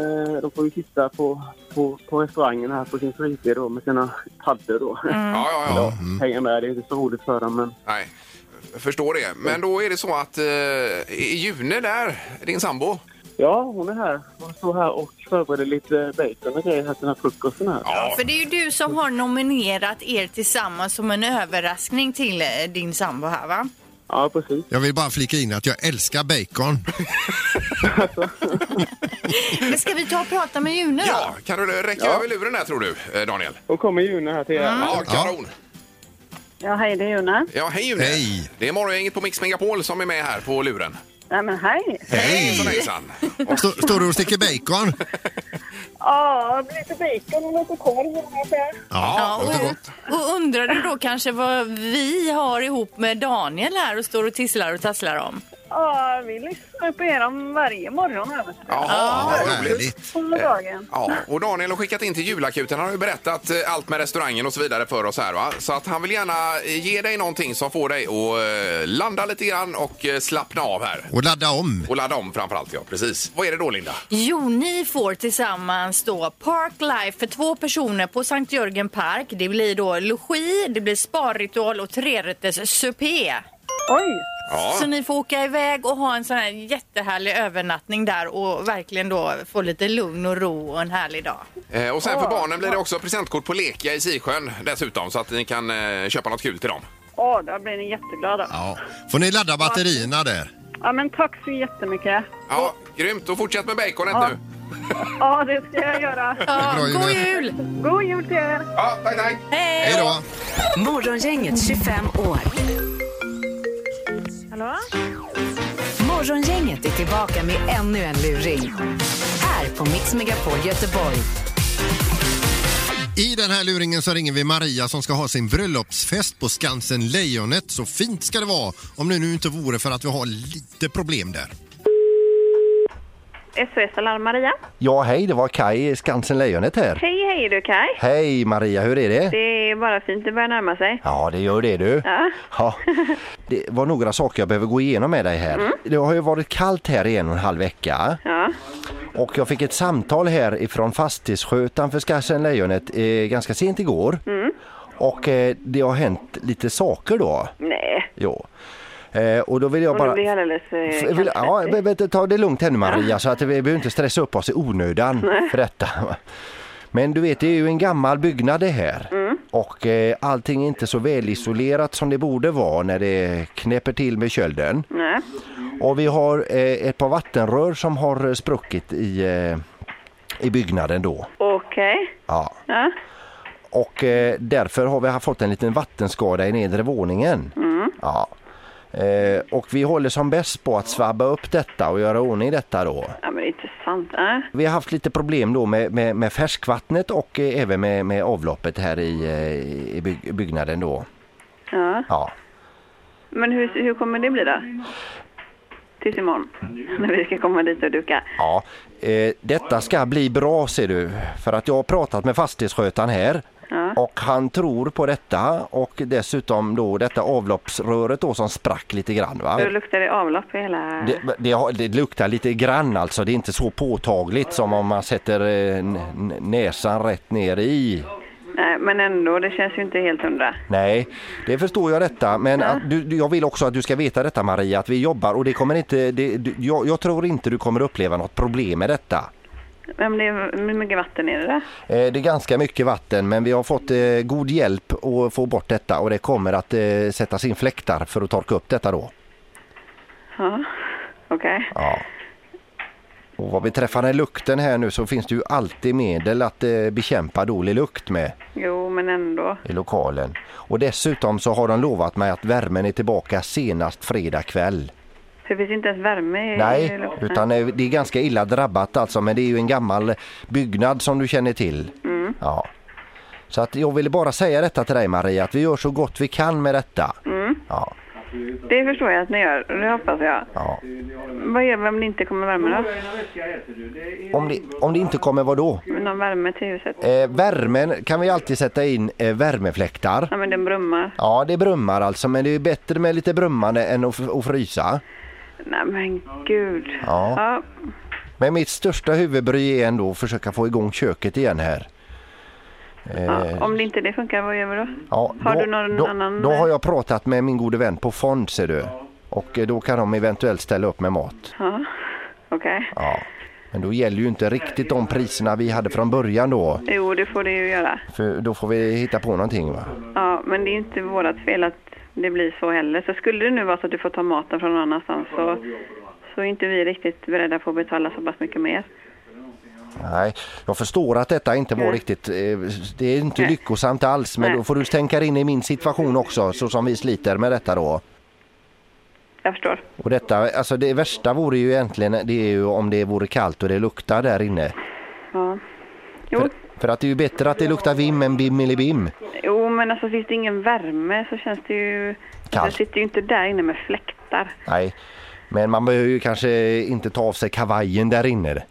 S11: de får ju sitta på, på, på restaurangen här på sin fritid då med sina paddor då.
S2: Ja, ja, ja.
S11: Hänga med, det är inte så roligt för dem men
S2: Nej, jag förstår det. Men då är det så att eh, i juni där, din sambo,
S11: ja, hon är här. Hon står här och förbereder lite bacon och grejer här till den här frukosten här.
S3: Ja, för det är ju du som har nominerat er tillsammans som en överraskning till eh, din sambo här va?
S11: Ja, precis.
S4: Jag vill bara flika in att jag älskar bacon.
S3: Men ska vi ta och prata med June då?
S2: ja, kan du eh, räcka över luren där tror du, eh, Daniel?
S11: Hon kommer June här till
S3: Mm.
S11: er.
S2: Ja, kanon.
S7: Ja, hej, det är Jonna.
S2: Ja, hej Juni.
S4: Hej.
S2: Det är morgongänget på Mix Megapol som är med här på luren.
S7: Nej, men hej.
S2: Hejsan, hejsan.
S4: Stå- Står du och sticker bacon?
S7: Ja, lite bacon och lite korv. ungefär.
S3: Ja,
S4: låter gott.
S3: och, och undrar du då kanske vad vi har ihop med Daniel här och står och tisslar och tasslar om?
S7: Ja, vi lyssnar på er om varje morgon. även.
S2: Jaha, vad roligt.
S4: Härligt.
S7: På dagen.
S2: Ja, och Daniel har skickat in till julakuten. Han har ju berättat eh, allt med restaurangen och så vidare för oss här va. Så att han vill gärna eh, ge dig någonting som får dig att eh, landa lite grann och eh, slappna av här.
S4: Och ladda om.
S2: Och ladda om framförallt ja, precis. Vad är det då Linda?
S3: Jo, ni får tillsammans då Park Life för två personer på Sankt Jörgen Park. Det blir då logi, det blir sparritual och trerätters supé.
S7: Oj!
S2: Ja.
S3: Så ni får åka iväg och ha en sån här jättehärlig övernattning där och verkligen då få lite lugn och ro och en härlig dag.
S2: Eh, Och sen för barnen blir det också presentkort på Lekia i Sisjön dessutom så att ni kan eh, köpa något kul till dem.
S7: Ja, då blir ni jätteglada.
S4: Ja. Får ni ladda batterierna där?
S7: Ja, men tack så jättemycket.
S2: Ja, grymt. Och fortsätt med baconet nu.
S7: Ja, det ska jag göra.
S3: Ja,
S4: bra,
S3: god
S4: Jimmy.
S3: jul!
S7: God jul till er!
S2: Ja, tack, tack.
S4: Hej då!
S1: Morgongänget 25 år.
S7: Hallå?
S1: Morgongänget är tillbaka med ännu en luring. Här på Mix Megapol Göteborg.
S4: I den här luringen så ringer vi Maria som ska ha sin bröllopsfest på Skansen Lejonet. Så fint ska det vara om det nu inte vore för att vi har lite problem där.
S12: SOS Alarm Maria.
S4: Ja, hej, det var Kai Skansen Lejonet här.
S12: Hej, hej du Kaj.
S4: Hej Maria, hur är det?
S12: Det är bara fint, det börjar närma sig.
S4: Ja, det gör det du.
S12: Ja.
S4: Ja. Det var några saker jag behöver gå igenom med dig här.
S12: Mm.
S4: Det har ju varit kallt här i en och en halv vecka.
S12: Ja.
S4: Och jag fick ett samtal här ifrån fastighetsskötaren för Skansen Lejonet eh, ganska sent igår.
S12: Mm.
S4: Och eh, det har hänt lite saker då.
S12: Nej.
S4: Jo. Eh, och då vill jag
S12: Och nu
S4: bara...
S12: blir jag alldeles...
S4: F-
S12: Eh,
S4: vill- ja,
S12: kallsvettig.
S4: men vänta, ta det lugnt här nu Maria så att vi behöver inte stressa upp oss i onödan
S12: Nej.
S4: för detta. Men du vet, det är ju en gammal byggnad det här.
S12: Mm.
S4: Och eh, allting är inte så välisolerat som det borde vara när det knäpper till med kölden.
S12: Nej.
S4: Och vi har eh, ett par vattenrör som har eh, spruckit i, eh, i byggnaden då.
S12: Okej.
S4: Ja.
S12: Ja.
S4: Och eh, därför har vi haft- fått en liten vattenskada i nedre våningen.
S12: Mm.
S4: Ja. Eh, och vi håller som bäst på att svabba upp detta och göra ordning detta då.
S12: Ja, men det är inte sant. Nej.
S4: Vi har haft lite problem då med, med, med färskvattnet och eh, även med, med avloppet här i, eh, i byg- byggnaden då.
S12: Ja.
S4: Ja.
S12: Men hur, hur kommer det bli då? Tills imorgon, när vi ska komma dit och duka.
S4: Ja, eh, detta ska bli bra ser du. För att jag har pratat med fastighetsskötaren här
S12: Ja.
S4: och han tror på detta och dessutom då detta avloppsröret då som sprack lite grann va.
S12: Då luktar det avlopp i hela...
S4: Det, det, har- det luktar lite grann alltså, det är inte så påtagligt som om man sätter eh, n- n- näsan rätt ner i.
S12: Nej, men ändå, det känns ju inte helt hundra.
S4: Nej, det förstår jag detta. Men
S12: Ja.
S4: att du, du- jag vill också att du ska veta detta Maria, att vi jobbar och det kommer inte, det, du, jag, jag tror inte du kommer uppleva något problem med detta.
S12: Men det, är- hur mycket vatten är det där?
S4: Eh, Det är ganska mycket vatten men vi har fått eh, god hjälp att få bort detta och det kommer att eh, sättas in fläktar för att torka upp detta då.
S12: Ja, okej.
S4: Ja. Och vad beträffar den lukten här nu så finns det ju alltid medel att eh, bekämpa dålig lukt med
S12: Jo, men ändå.
S4: i lokalen. Och dessutom så har de lovat mig att värmen är tillbaka senast fredag kväll.
S12: För det finns inte ens värme i i
S4: Nej,
S12: luften.
S4: utan eh, det är ganska illa drabbat alltså men det är ju en gammal byggnad som du känner till.
S12: Mm.
S4: Ja. Så att jag ville bara säga detta till dig Maria, att vi gör så gott vi kan med detta.
S12: Mm.
S4: Ja.
S12: Det förstår jag att ni gör, och det hoppas jag.
S4: Ja.
S12: Vad gör vi om det inte kommer värme då?
S4: Om, det, om det inte kommer vad då?
S12: Någon värme till huset?
S4: Eh, värmen kan vi alltid sätta in eh, värmefläktar.
S12: Ja, men den brummar.
S4: Ja, det brummar alltså, men det är bättre med lite brummande än att, f- att frysa.
S12: Nej, men gud.
S4: Ja.
S12: Ja,
S4: Men mitt största huvudbry är ändå att försöka få igång köket igen här. Eh,
S12: ja, om det inte det funkar, vad gör vi då?
S4: ja,
S12: har
S4: då-
S12: du någon
S4: då,
S12: annan-
S4: Då har jag pratat med min gode vän på Fond, ser du. Och eh, då kan de eventuellt ställa upp med mat.
S12: Ja, okej.
S4: Ja. Men då gäller ju inte riktigt de priserna vi hade från början då.
S12: Jo, det får det ju göra.
S4: För då får vi hitta på någonting va?
S12: Ja, men det är ju inte vårt fel att det blir så heller. Så skulle det nu vara så att du får ta maten från någon annanstans så, så är inte vi riktigt beredda på att betala så pass mycket mer.
S4: Nej, jag förstår att detta inte var
S12: Nej.
S4: riktigt, eh, det är inte
S12: Mm. Nej.
S4: lyckosamt alls men
S12: Nej.
S4: då får du tänka dig in i min situation också så som vi sliter med detta då.
S12: Jag förstår.
S4: Och detta, alltså det värsta vore ju egentligen det är ju om det vore kallt och det luktar där inne.
S12: Ja.
S4: För, för att det är ju bättre att det luktar vim än bim eller bim.
S12: Jo, men alltså finns det ingen värme så känns det ju...
S4: Kallt.
S12: Du sitter ju inte där inne med fläktar.
S4: Nej, men man behöver ju kanske inte ta av sig kavajen där inne.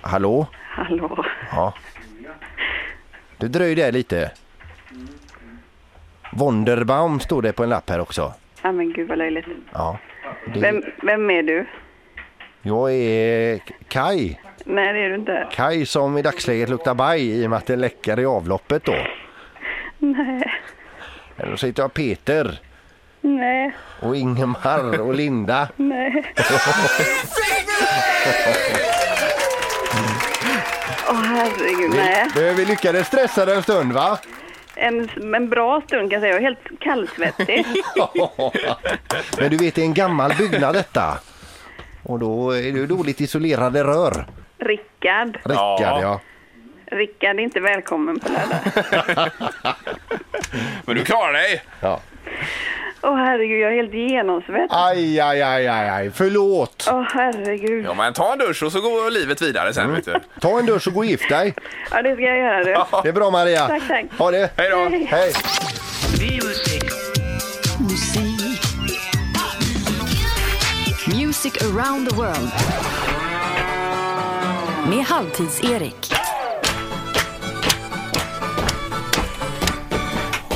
S4: Hallå?
S12: Hallå?
S4: Ja. Du dröjde där lite. Wonderbaum stod det på en lapp här också.
S12: Ja, men gud vad löjligt.
S4: Ja. Det,
S12: Vem, vem är du?
S4: Jag är Kai.
S12: Nej, det är du inte.
S4: Kai som i dagsläget luktar baj i och med att det läcker i avloppet då.
S12: Nej,
S4: Eller så heter jag Peter
S12: nej,
S4: och Ingemar och Linda.
S12: nej. Åh herregud, nej.
S4: Vi, vi lyckades stressa dig en stund va?
S12: En, en bra stund kan jag säga. Jag är helt kallsvettig.
S4: Men du vet det är en gammal byggnad detta. Och då är det ju dåligt isolerade rör.
S12: Rickard.
S4: Rickard ja.
S12: Rickard är inte välkommen på lördag.
S2: Men du klarar dig!
S4: Ja.
S12: Åh herregud, jag är helt genomsvett. Åh
S4: Aj, aj, aj, aj, aj. förlåt.
S12: herregud.
S2: Ja, men ta en dusch och så går livet vidare sen. Vet du.
S4: Ta en dusch och gå och gift dig.
S12: Ja, det ska jag göra du.
S4: Det är bra Maria.
S12: Tack, tack.
S4: Ha det.
S2: Hej då.
S12: Hej.
S4: Hej.
S1: Musik. Music around the world. Med Halvtids-Erik.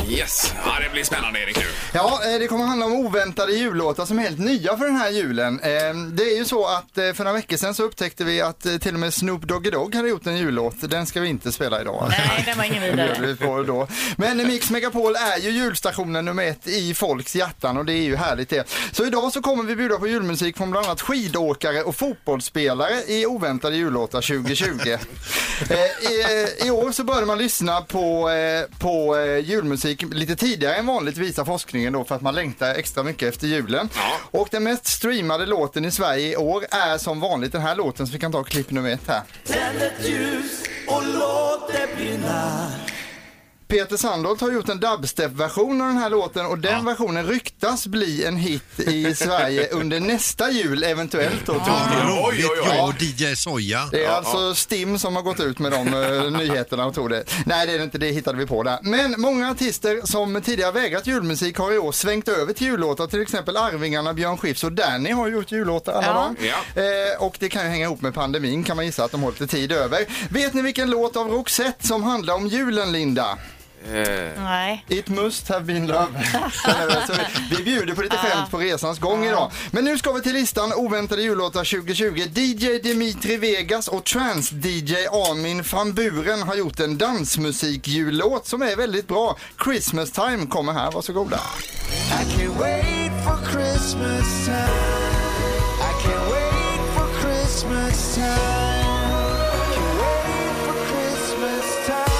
S2: Yes, ja, det blir spännande Erik nu.
S6: Ja, eh, det kommer handla om oväntade jullåtar som är helt nya för den här julen. Eh, Det är ju så att eh, för några veckor sedan så upptäckte vi att eh, till och med Snoop Doggy Dogg hade gjort en jullåt. Den ska vi inte spela idag.
S5: Nej, den var ingen
S6: Det
S5: vidare.
S6: bjuder vi på då. Men Mix Megapol är ju julstationen nummer ett i folks hjärtan och det är ju härligt det. Så idag så kommer vi bjuda på julmusik från bland annat skidåkare och fotbollsspelare i oväntade jullåtar 2020. eh, i, I år så började man lyssna på, eh, på eh, julmusik lite tidigare än vanligt visar forskningen då för att man längtar extra mycket efter julen. Och den mest streamade låten i Sverige i år är som vanligt den här låten så vi kan ta klipp nummer ett här.
S8: Tänd ett ljus och låt det brinna
S6: Peter Sandholt har gjort en dubstep-version av den här låten och den versionen ryktas bli en hit i Sverige under nästa jul eventuellt. Då,
S4: Ja,
S6: tror
S4: oj,
S6: jag.
S4: Jag och DJ Soja.
S6: Det är alltså STIM som har gått ut med de eh, nyheterna och tog det. Nej, det är det inte, det hittade vi på där. Men många artister som tidigare vägrat julmusik har i år svängt över till jullåtar. Till exempel Arvingarna, Björn Skifs och Danny har gjort jullåtar alla
S2: Ja.
S6: dagar.
S2: Ja.
S6: Eh, och det kan ju hänga ihop med pandemin kan man gissa att de har lite tid över. Vet ni vilken låt av Roxette som handlar om julen, Linda?
S5: Nej.
S6: It must have been love. Den är väl- så vi- vi bjuder på lite skämt på resans gång idag. Men nu ska vi till listan Oväntade jullåtar 2020. DJ Dimitri Vegas och trans-DJ Armin van Buren har gjort en dansmusikjullåt som är väldigt bra. Christmas time kommer här, varsågoda.
S8: I can't wait for Christmas time I can't wait for Christmas time I can't wait for Christmas time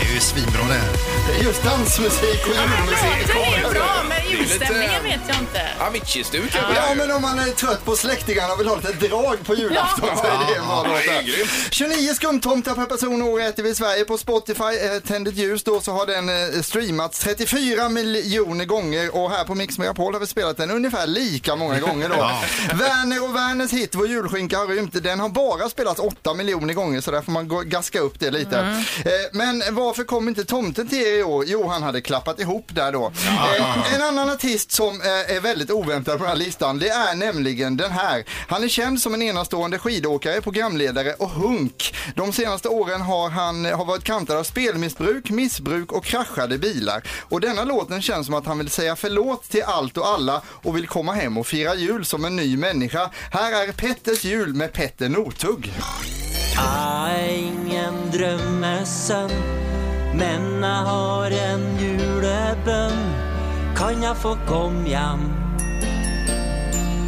S4: Det är ju svinbra det här.
S6: Det är just dansmusik och julmusik.
S5: Det är bra,
S2: Det
S5: men
S2: är lite-
S5: julstämningen vet jag inte.
S2: Avicii-studio.
S6: Ja, men om man är trött på släktingarna och vill ha lite drag på julafton så är det en bra låt.
S2: det är
S6: där.
S2: grymt.
S6: 29 skumtomtar per person och år äter vi i Sverige. På Spotify, eh, Tänd ett ljus då, så har den eh, streamats 34 miljoner gånger och här på Mix Megapol har vi spelat den ungefär lika många gånger då.
S4: Ja.
S6: Werner och Werners hit Vår julskinka har rymt, den har bara spelats 8 miljoner gånger så där får man gå, gaska upp det lite. Eh, men varför kom inte tomten till er i år? Jo, han hade klappat ihop där då. Eh, en annan artist som eh, är väldigt oväntad på den här listan, det är nämligen den här. Han är känd som en enastående skidåkare, programledare och hunk. De senaste åren har han eh, har varit kantad av spelmissbruk, missbruk och kraschade bilar. Och denna låten känns som att han vill säga förlåt till allt och alla och vill komma hem och fira jul som en ny människa. Här är Petters jul med Petter Northug.
S8: Ah, Ingen drømmesønn, men jeg har en julebønn. Kan jeg få komme hjem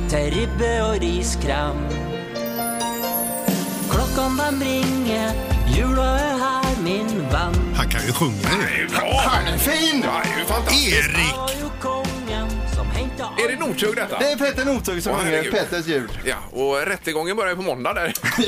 S8: til ribbe og riskrem? Klokkene dem ringer, jula er her, min venn.
S4: Han kan ju sjunga nu.
S6: Han är fin!
S2: Ja, det är ju fantastiskt.
S4: Erik!
S2: Är det Northug detta?
S6: Det är Petter Northug som
S2: Åh,
S6: sjunger
S2: herregud.
S6: Petters jul.
S2: Ja, och rättegången börjar ju på måndag där.
S6: Ja,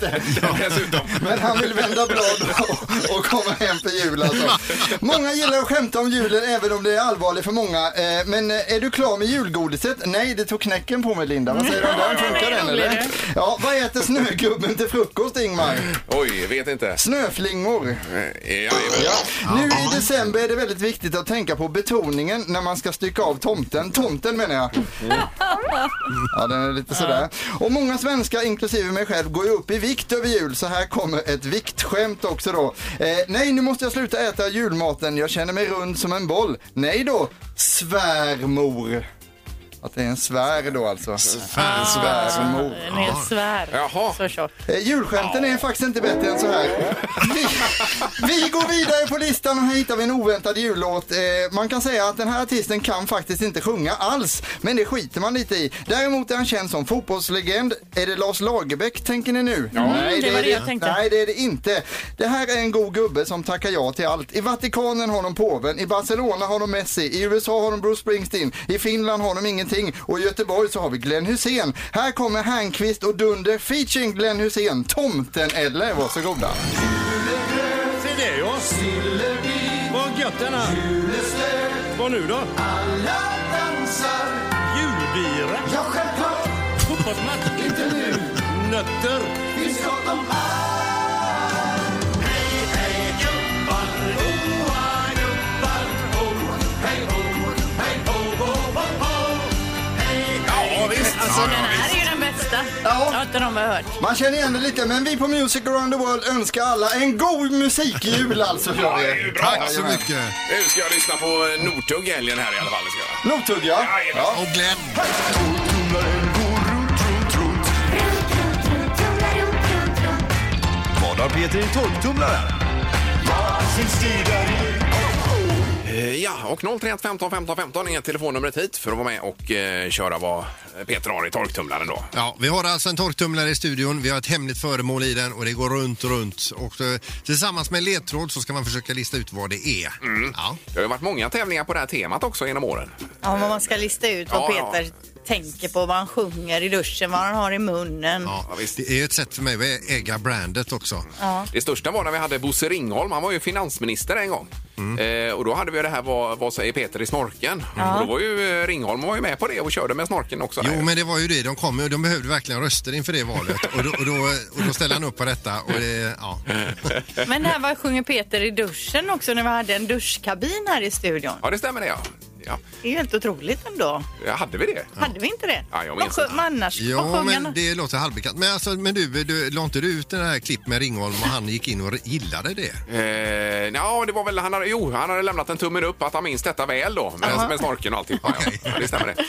S6: det.
S2: Dessutom.
S6: Men han vill vända blad och, och komma hem för jul alltså. Många gillar att skämta om julen även om det är allvarligt för många. Eh, Men eh, är du klar med julgodiset? Nej, det tog knäcken på mig Linda. Vad säger du om den? Funkar den eller? Ja, vad äter snögubben till frukost Ingmar?
S2: Oj, vet inte.
S6: Snöflingor.
S2: Eh, Ja, jajamän.
S6: Nu i december är det väldigt viktigt att tänka på betoningen när man ska stycka av tomten. Tomten menar jag. Ja, den är lite sådär. Och många svenskar, inklusive mig själv, går ju upp i vikt över jul. Så här kommer ett viktskämt också då. Eh, nej, nu måste jag sluta äta julmaten. Jag känner mig rund som en boll. Nej då, svärmor. Att det är en svär då alltså. Svärmor.
S5: En hel svär.
S2: Jaha.
S5: Så tjock.
S6: Eh, julskämten är faktiskt inte bättre än så här. Vi, vi går vidare på listan och här hittar vi en oväntad jullåt. Eh, man kan säga att den här artisten kan faktiskt inte sjunga alls, men det skiter man lite i. Däremot är han känd som fotbollslegend. Är det Lars Lagerbäck tänker ni nu? nej,
S5: Mm, det var
S6: är
S5: det jag tänkte.
S6: Nej, det är det inte. Det här är en god gubbe som tackar ja till allt. I Vatikanen har de påven, i Barcelona har de Messi, i USA har de Bruce Springsteen, i Finland har de ingenting och i Göteborg så har vi Glenn Hussein. Här kommer Hernqvist och Dunder featuring Glenn Hussein, Tomten eller varsågoda.
S13: Se det ja! Vad gött denna! Vad nu då? Alla dansar! Julbira! Ja, självklart! Fotbollsmatch! Inte nu! Nötter! Finns gott om allt! Hej, hej, gubbar! Hoa, gubbar! Ho, hej, ho! Hej, ho, ho, ho, ho!
S3: Alltså den här är ju den bästa. Ja. Jag inte de har hört.
S6: Man känner igen det lite, men vi på Music around the world önskar alla en god musikjul alltså.
S2: Ja, det är ju bra.
S6: Tack så mycket.
S2: Nu ska jag lyssna på eh, Northug i helgen här i alla fall. Det ska jag.
S6: Nothugg ja. ja.
S4: Och Glenn.
S14: Vad har Peter i torktumlaren?
S2: Eh, Ja, och 031 15 15 15 är telefonnumret hit för att vara med och eh, köra vad Peter har i torktumlaren då.
S4: Ja, vi har alltså en torktumlare i studion, vi har ett hemligt föremål i den och det går runt och runt. Och eh, tillsammans med en ledtråd så ska man försöka lista ut vad det är.
S2: Mm. Det har ju varit många tävlingar på det här temat också genom åren.
S3: Ja, men man ska lista ut vad
S2: Ja, ja.
S3: Peter tänker på, vad han sjunger i duschen, vad han har i munnen.
S4: Ja, det är ett sätt för mig att äga brandet också.
S3: Ja.
S2: Det största var när vi hade Bosse Ringholm, han var ju finansminister en gång.
S4: Mm.
S2: Eh, och då hade vi det här vad, vad säger Peter i snorken?
S4: Ja.
S2: Och då var ju eh, Ringholm var ju med på det och körde med snorken också.
S4: Jo, men det var ju det. De kom ju och de behövde verkligen röster inför det valet. Och då, och då, och då ställde han upp på detta. Och det, ja.
S3: Men det här var sjunger Peter i duschen också när vi hade en duschkabin här i studion.
S2: Ja, det stämmer det ja. ja.
S3: Det är ju helt otroligt ändå.
S2: Ja, Hade vi det?
S3: Hade vi inte det?
S2: Ja, jag
S3: Vad
S2: minns
S3: sjöng man annars? Vad
S4: Ja,
S3: sjöng
S4: men
S3: han?
S4: det låter halvbekant. Men, alltså, men du, du, la inte du ut den här klipp med Ringholm och han gick in och gillade det?
S2: Eh, ja, det var väl han hade, jo, han hade lämnat en tummen upp att han minns detta väl då med, med snorken och alltihopa. Ja. Ja, det stämmer det.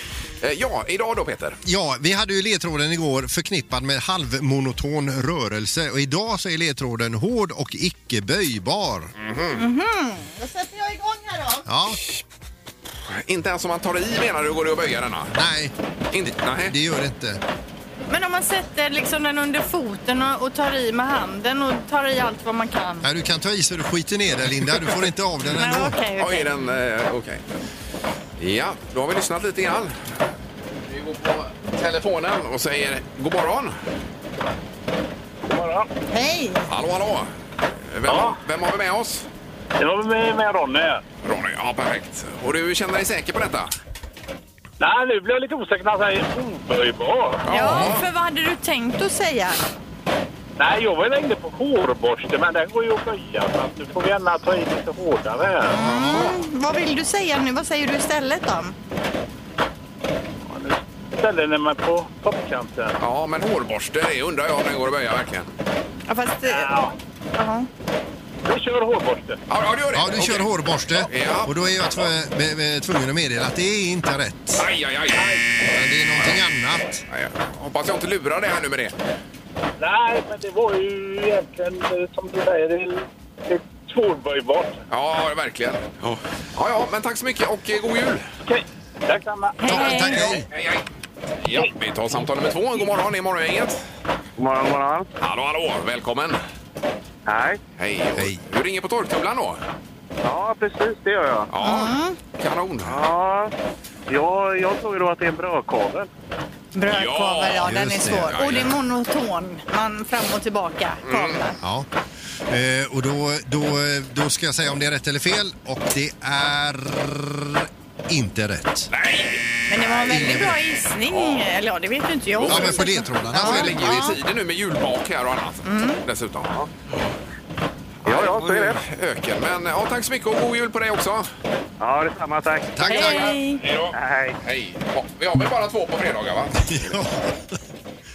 S2: Eh, ja, idag då Peter.
S4: Ja, vi hade ju ledtråden igår förknippad med halvmonoton rörelse och idag så är ledtråden hård och icke böjbar.
S3: Mhm. Då sätter jag igång här då.
S4: Ja.
S2: Inte ens om man tar i menar du går det att böja denna?
S4: Nej.
S2: Inte, nej.
S4: Det gör det inte.
S3: Men om man sätter liksom den under foten och, och tar i med handen och tar i allt vad man kan.
S4: Nej, du kan ta i så du skiter ner den Linda, du får inte av den
S3: Nej,
S4: ändå.
S3: okej, okej.
S2: Oj, den... Eh, okej. Ja, då har vi lyssnat lite grann. Vi går på telefonen och säger god morgon. God morgon.
S3: Hej!
S2: Hallå, hallå. Vem, vem har vi med oss? Jag har med, med Ronny. Ronny, ja perfekt. Och du känner dig säker på detta?
S11: Nej, nu blir jag lite osäker när han säger oböjbar.
S3: Ja, för vad hade du tänkt att säga?
S11: Nej, jag var inne på hårborste, men den går ju att böja. Så att nu får vi gärna ta i lite hårdare. här.
S3: Mm, vad vill du säga nu? Vad säger du istället då?
S11: Ställer ni mig på toppkanten?
S2: Ja, men hårborste det undrar jag om den går att böja verkligen.
S3: Ja, fast... eh, jaha.
S11: Vi kör hårborste.
S2: Ja, ja, du gör det.
S4: Ja, du kör hårborste och då är jag tv- be- be- tvungen att meddela att det är inte rätt.
S2: Aj, aj, aj. Men
S4: det är någonting annat.
S2: Aj, ja. Hoppas jag inte lurar dig här nu med det.
S11: Nej, men det var ju egentligen eh, som du säger, det är lite svårböjbart.
S2: Ja, verkligen. Ja, ja, ja, men tack så mycket och eh, god jul.
S11: Okej, tack samma.
S2: Hej. Tack, hej. hej, hej. Ja, vi tar samtal nummer två. God morgon, det är Morgongänget.
S11: God morgon, god morgon.
S2: Hallå, hallå, välkommen.
S11: Hej.
S2: Hej. hej. Du ringer på torktumlaren då?
S11: Ja, precis, det gör jag.
S2: Ja, kanon.
S11: Ja, jag, jag tror ju då att det är en brödkavel.
S3: Brödkavel, ja, den är
S4: just det.
S3: svår.
S4: Ja,
S3: Och det är
S4: ja.
S3: monoton. Man fram och tillbaka. kavlar.
S4: Ja. Eh, och då, då, då ska jag säga om det är rätt eller fel och det är inte rätt.
S3: Men det var en väldigt bra gissning. Eller ja, det vet ju inte jag. Mm.
S4: Ja, men på ledtrådarna
S2: Alltså,
S4: så är
S2: det
S4: det
S2: ligger ju i tiden nu med julbak här och annat dessutom. Ja, ja, så är det. Öken. Men ja, tack så mycket och god jul på dig också.
S11: Ja, detsamma. Tack.
S4: Tack, tack.
S2: Hej. då. Hej. Ja, vi har väl bara två på fredagar, va?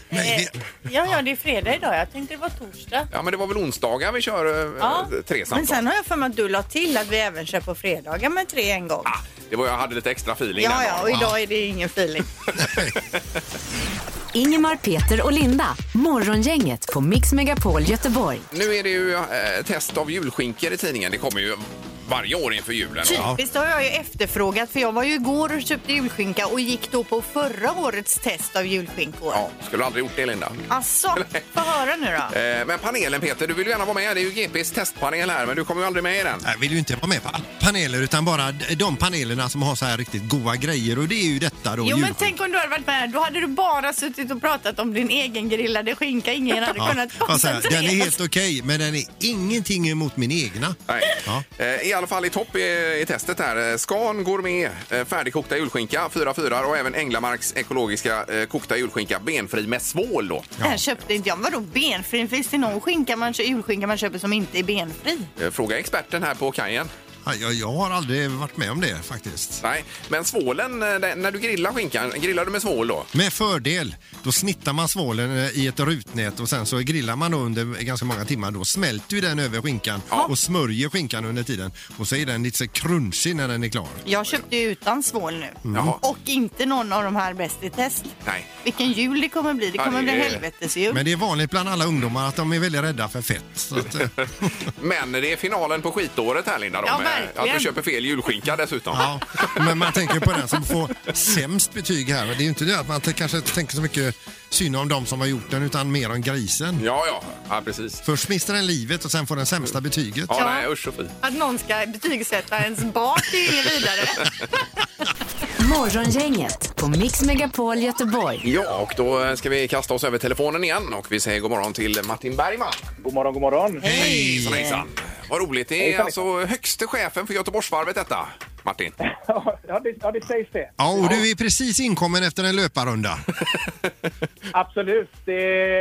S4: Nej.
S3: Ja, ja, det är fredag idag. Jag tänkte det var torsdag.
S2: Ja, men det var väl onsdagar vi kör eh,
S3: Ja.
S2: tre samtal.
S3: Men sen har jag för mig att du la till att vi även kör på fredagar med tre en gång.
S2: Det var, jag hade lite extra feeling
S3: Ja,
S2: den
S3: ja,
S2: dagen.
S3: och idag är det ingen feeling.
S1: Ingemar, Peter och Linda. Morgongänget på Mix Megapol Göteborg.
S2: Nu är det ju eh, test av julskinkor i tidningen. Det kommer ju varje år inför julen.
S3: Typiskt, det Typ, har jag ju efterfrågat för jag var ju igår och köpte julskinka och gick då på förra årets test av julskinkor.
S2: Ja, skulle aldrig gjort det, Linda.
S3: Alltså, få höra nu då.
S2: Eh, Men panelen, Peter, du vill ju gärna vara med. Det är ju GPs testpanel här, men du kommer ju aldrig med i den.
S4: Jag vill ju inte vara med på alla paneler utan bara d- de panelerna som har så här riktigt goa grejer och det är ju detta då.
S3: Jo men
S4: julskinka.
S3: tänk om du hade varit med, då hade du bara suttit och pratat om din egen grillade skinka. Ingen hade kunnat
S4: vad säger jag?
S3: koncentrera
S4: den är helt okej, men den är ingenting emot min egna.
S2: Nej. Eh, I alla fall i topp i, i testet här. Eh, Scan Gourmet eh, färdigkokta julskinka, fyra fyrar och även Änglamarks ekologiska eh, kokta julskinka benfri med svål då.
S3: Den här köpte inte jag. Vadå benfri? Finns det någon skinka man, kö- julskinka man köper som inte är benfri?
S2: Eh, Fråga experten här på kajen.
S4: Ja, Jag, jag har aldrig varit med om det faktiskt.
S2: Nej, men svålen, eh, den- när du grillar skinkan, grillar du med svål då?
S4: Med fördel, då snittar man svålen eh, i ett rutnät och sen så grillar man då under ganska många timmar. Då smälter ju den över skinkan och smörjer skinkan under tiden. Och så är den lite så crunchig när den är klar.
S3: Jag köpte ju utan svål nu.
S4: Mm. Jaha.
S3: Och inte någon av de här Bäst i test.
S2: Nej.
S3: Vilken jul det kommer bli. Det
S2: Ja,
S3: kommer
S2: det
S3: bli
S2: är-
S3: helvetesjul.
S4: Men det är vanligt bland alla ungdomar att de är väldigt rädda för fett. Så att, eh,
S2: Men det är finalen på skitåret här Linda. Då,
S3: Ja,
S2: med
S3: verkligen.
S2: Att du köper fel julskinka dessutom.
S4: Ja, men man tänker på den som får sämst betyg här. Det är ju inte det att man t- kanske tänker så mycket synd om de som har gjort den utan mer om grisen.
S2: Ja, ja, ja precis.
S4: Först mister den livet och sen får den sämsta betyget.
S2: Ja, nej, usch och fy.
S3: Att någon ska betygsätta ens barn, det är inget vidare.
S1: Morgongänget på Mix Megapol Göteborg.
S2: Ja, och då ska vi kasta oss över telefonen igen och vi säger god morgon till Martin Bergman.
S15: God morgon, god morgon.
S2: Hej! Hejsan, hejsan. Vad roligt. Det är
S15: Hejsan,
S2: alltså högste chefen för Göteborgsvarvet detta, Martin.
S15: Ja, det, ja, det sägs det.
S4: Ja, och du är precis inkommen efter en löparrunda.
S15: Absolut. Det,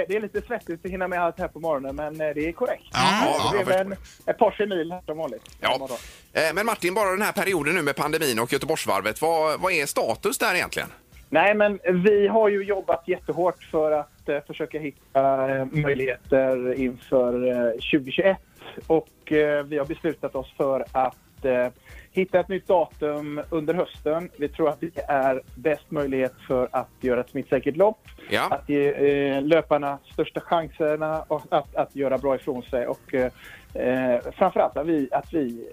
S15: det är lite svettigt att hinna med allt här på morgonen, men eh, det är korrekt.
S2: ja,
S15: det
S2: jag
S15: blev en, ett Porsche mil här som vanligt.
S2: Ja. Eh, Men Martin, bara den här perioden nu med pandemin och Göteborgsvarvet, vad, vad är status där egentligen?
S15: Nej, men vi har ju jobbat jättehårt för att eh, försöka hitta eh, möjligheter inför eh, 2021 och eh, vi har beslutat oss för att eh, hitta ett nytt datum under hösten. Vi tror att det är bäst möjlighet för att göra ett smittsäkert lopp,
S2: Ja.
S15: att ge eh, löparna största chanserna och att, att göra bra ifrån sig och eh, eh, framförallt att vi, att vi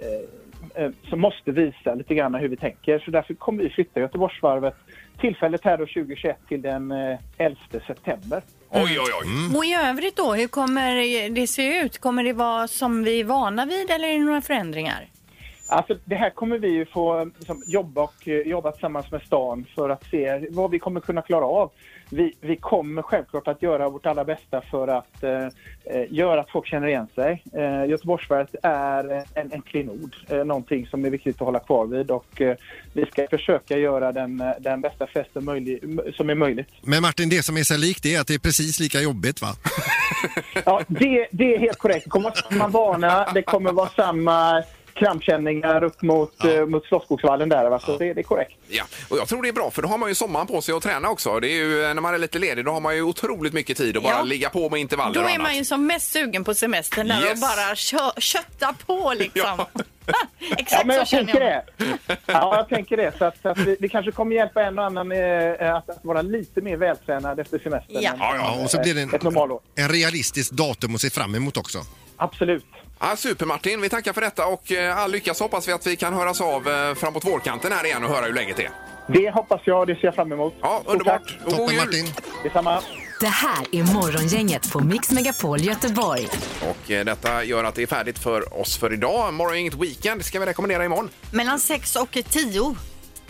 S15: eh, eh, så måste visa lite grann hur vi tänker. Så därför kommer vi flytta Göteborgsvarvet tillfället här då 2021 till den eh, 11 september.
S2: Oj, oj, oj.
S3: Och i övrigt då, hur kommer det se ut? Kommer det vara som vi är vana vid eller är det några förändringar?
S15: Alltså, det här kommer vi ju få eh, liksom, jobba, och, eh, jobba tillsammans med stan för att se vad vi kommer kunna klara av. Vi, vi kommer självklart att göra vårt allra bästa för att eh, eh, göra att folk känner igen sig. Eh, Göteborgsvarvet är en, en klenod, eh, någonting som är viktigt att hålla kvar vid och eh, vi ska försöka göra den, eh, den bästa festen möjlig, m- som är möjligt.
S4: Men Martin, det som är så likt det är att det är precis lika jobbigt va?
S15: Ja, det, det är helt korrekt. Det kommer vara samma vana, det kommer vara samma krampkänningar upp mot, ja. mot Slottsskogsvallen där. Va? Så det, det är korrekt.
S2: Ja, och jag tror det är bra för då har man ju sommaren på sig att träna också. Det är ju, eh, när man är lite ledig då har man ju otroligt mycket tid att bara
S3: Ja.
S2: ligga på med intervaller
S3: Då
S2: och
S3: är
S2: annat.
S3: man ju som mest sugen på semestern där
S2: Yes.
S3: och bara kö- kötta på liksom.
S15: Ja,
S3: Exakt
S15: men
S3: så
S15: jag
S3: känner
S15: tänker
S3: jag.
S15: det. Ja, jag tänker det. Så att, så att vi, vi kanske kommer hjälpa en och annan eh, att, att vara lite mer vältränad efter semestern. än-
S4: och så blir det en,
S15: Ett normalår.
S4: en realistisk datum att se fram emot också.
S15: Absolut.
S2: Ja, super Martin, vi tackar för detta och eh, all lycka så hoppas vi att vi kan höras av eh, framåt vårkanten här igen och höra hur läget är.
S15: Det hoppas jag, det ser jag fram emot.
S2: Ja, underbart. Och god jul.
S15: Detsamma.
S1: Det här är Morgongänget på Mix Megapol Göteborg.
S2: Och eh, detta gör att det är färdigt för oss för idag. Morgon inget weekend ska vi rekommendera imorgon.
S3: Mellan 6 och 10.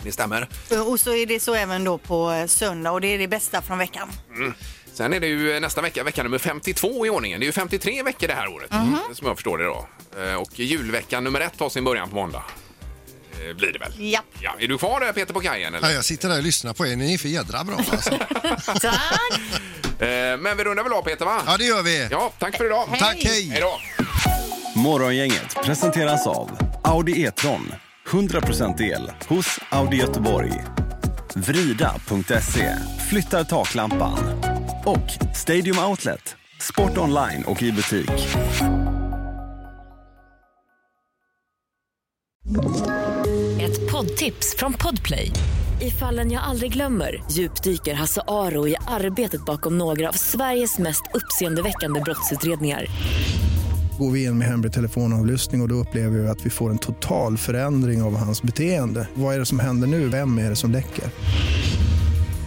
S2: Det stämmer.
S3: Och så är det så även då på eh, söndag och det är det bästa från veckan.
S2: Mm. Sen är det ju eh, nästa vecka, vecka nummer 52 i ordningen. Det är ju 53 veckor det här året,
S3: Mhm.
S2: mm, som jag förstår det då. Eh, Och julvecka nummer ett tar sin början på måndag. Eh, Blir det väl.
S3: Ja.
S2: Ja, är du kvar där Peter på kajen? Eller?
S4: Ja, jag sitter där och lyssnar på er, ni är för jädra bra alltså.
S2: Eh, Men vi rundar väl av Peter va?
S4: Ja, det gör vi.
S2: Ja, tack för idag.
S4: Hej. Tack, hej.
S2: Hej då.
S14: Morgongänget presenteras av Audi E-tron. 100% el hos Audi Göteborg. Vrida.se. Flyttar taklampan. Och Stadium Outlet. Sport online och i butik.
S16: Ett poddtips från Podplay. I fallen jag aldrig glömmer djupdyker Hasse Aro i arbetet bakom några av Sveriges mest uppseendeväckande brottsutredningar.
S17: Går vi in med hemlig telefonavlyssning och, och då upplever vi att vi får en total förändring av hans beteende. Vad är det som händer nu? Vem är det som läcker?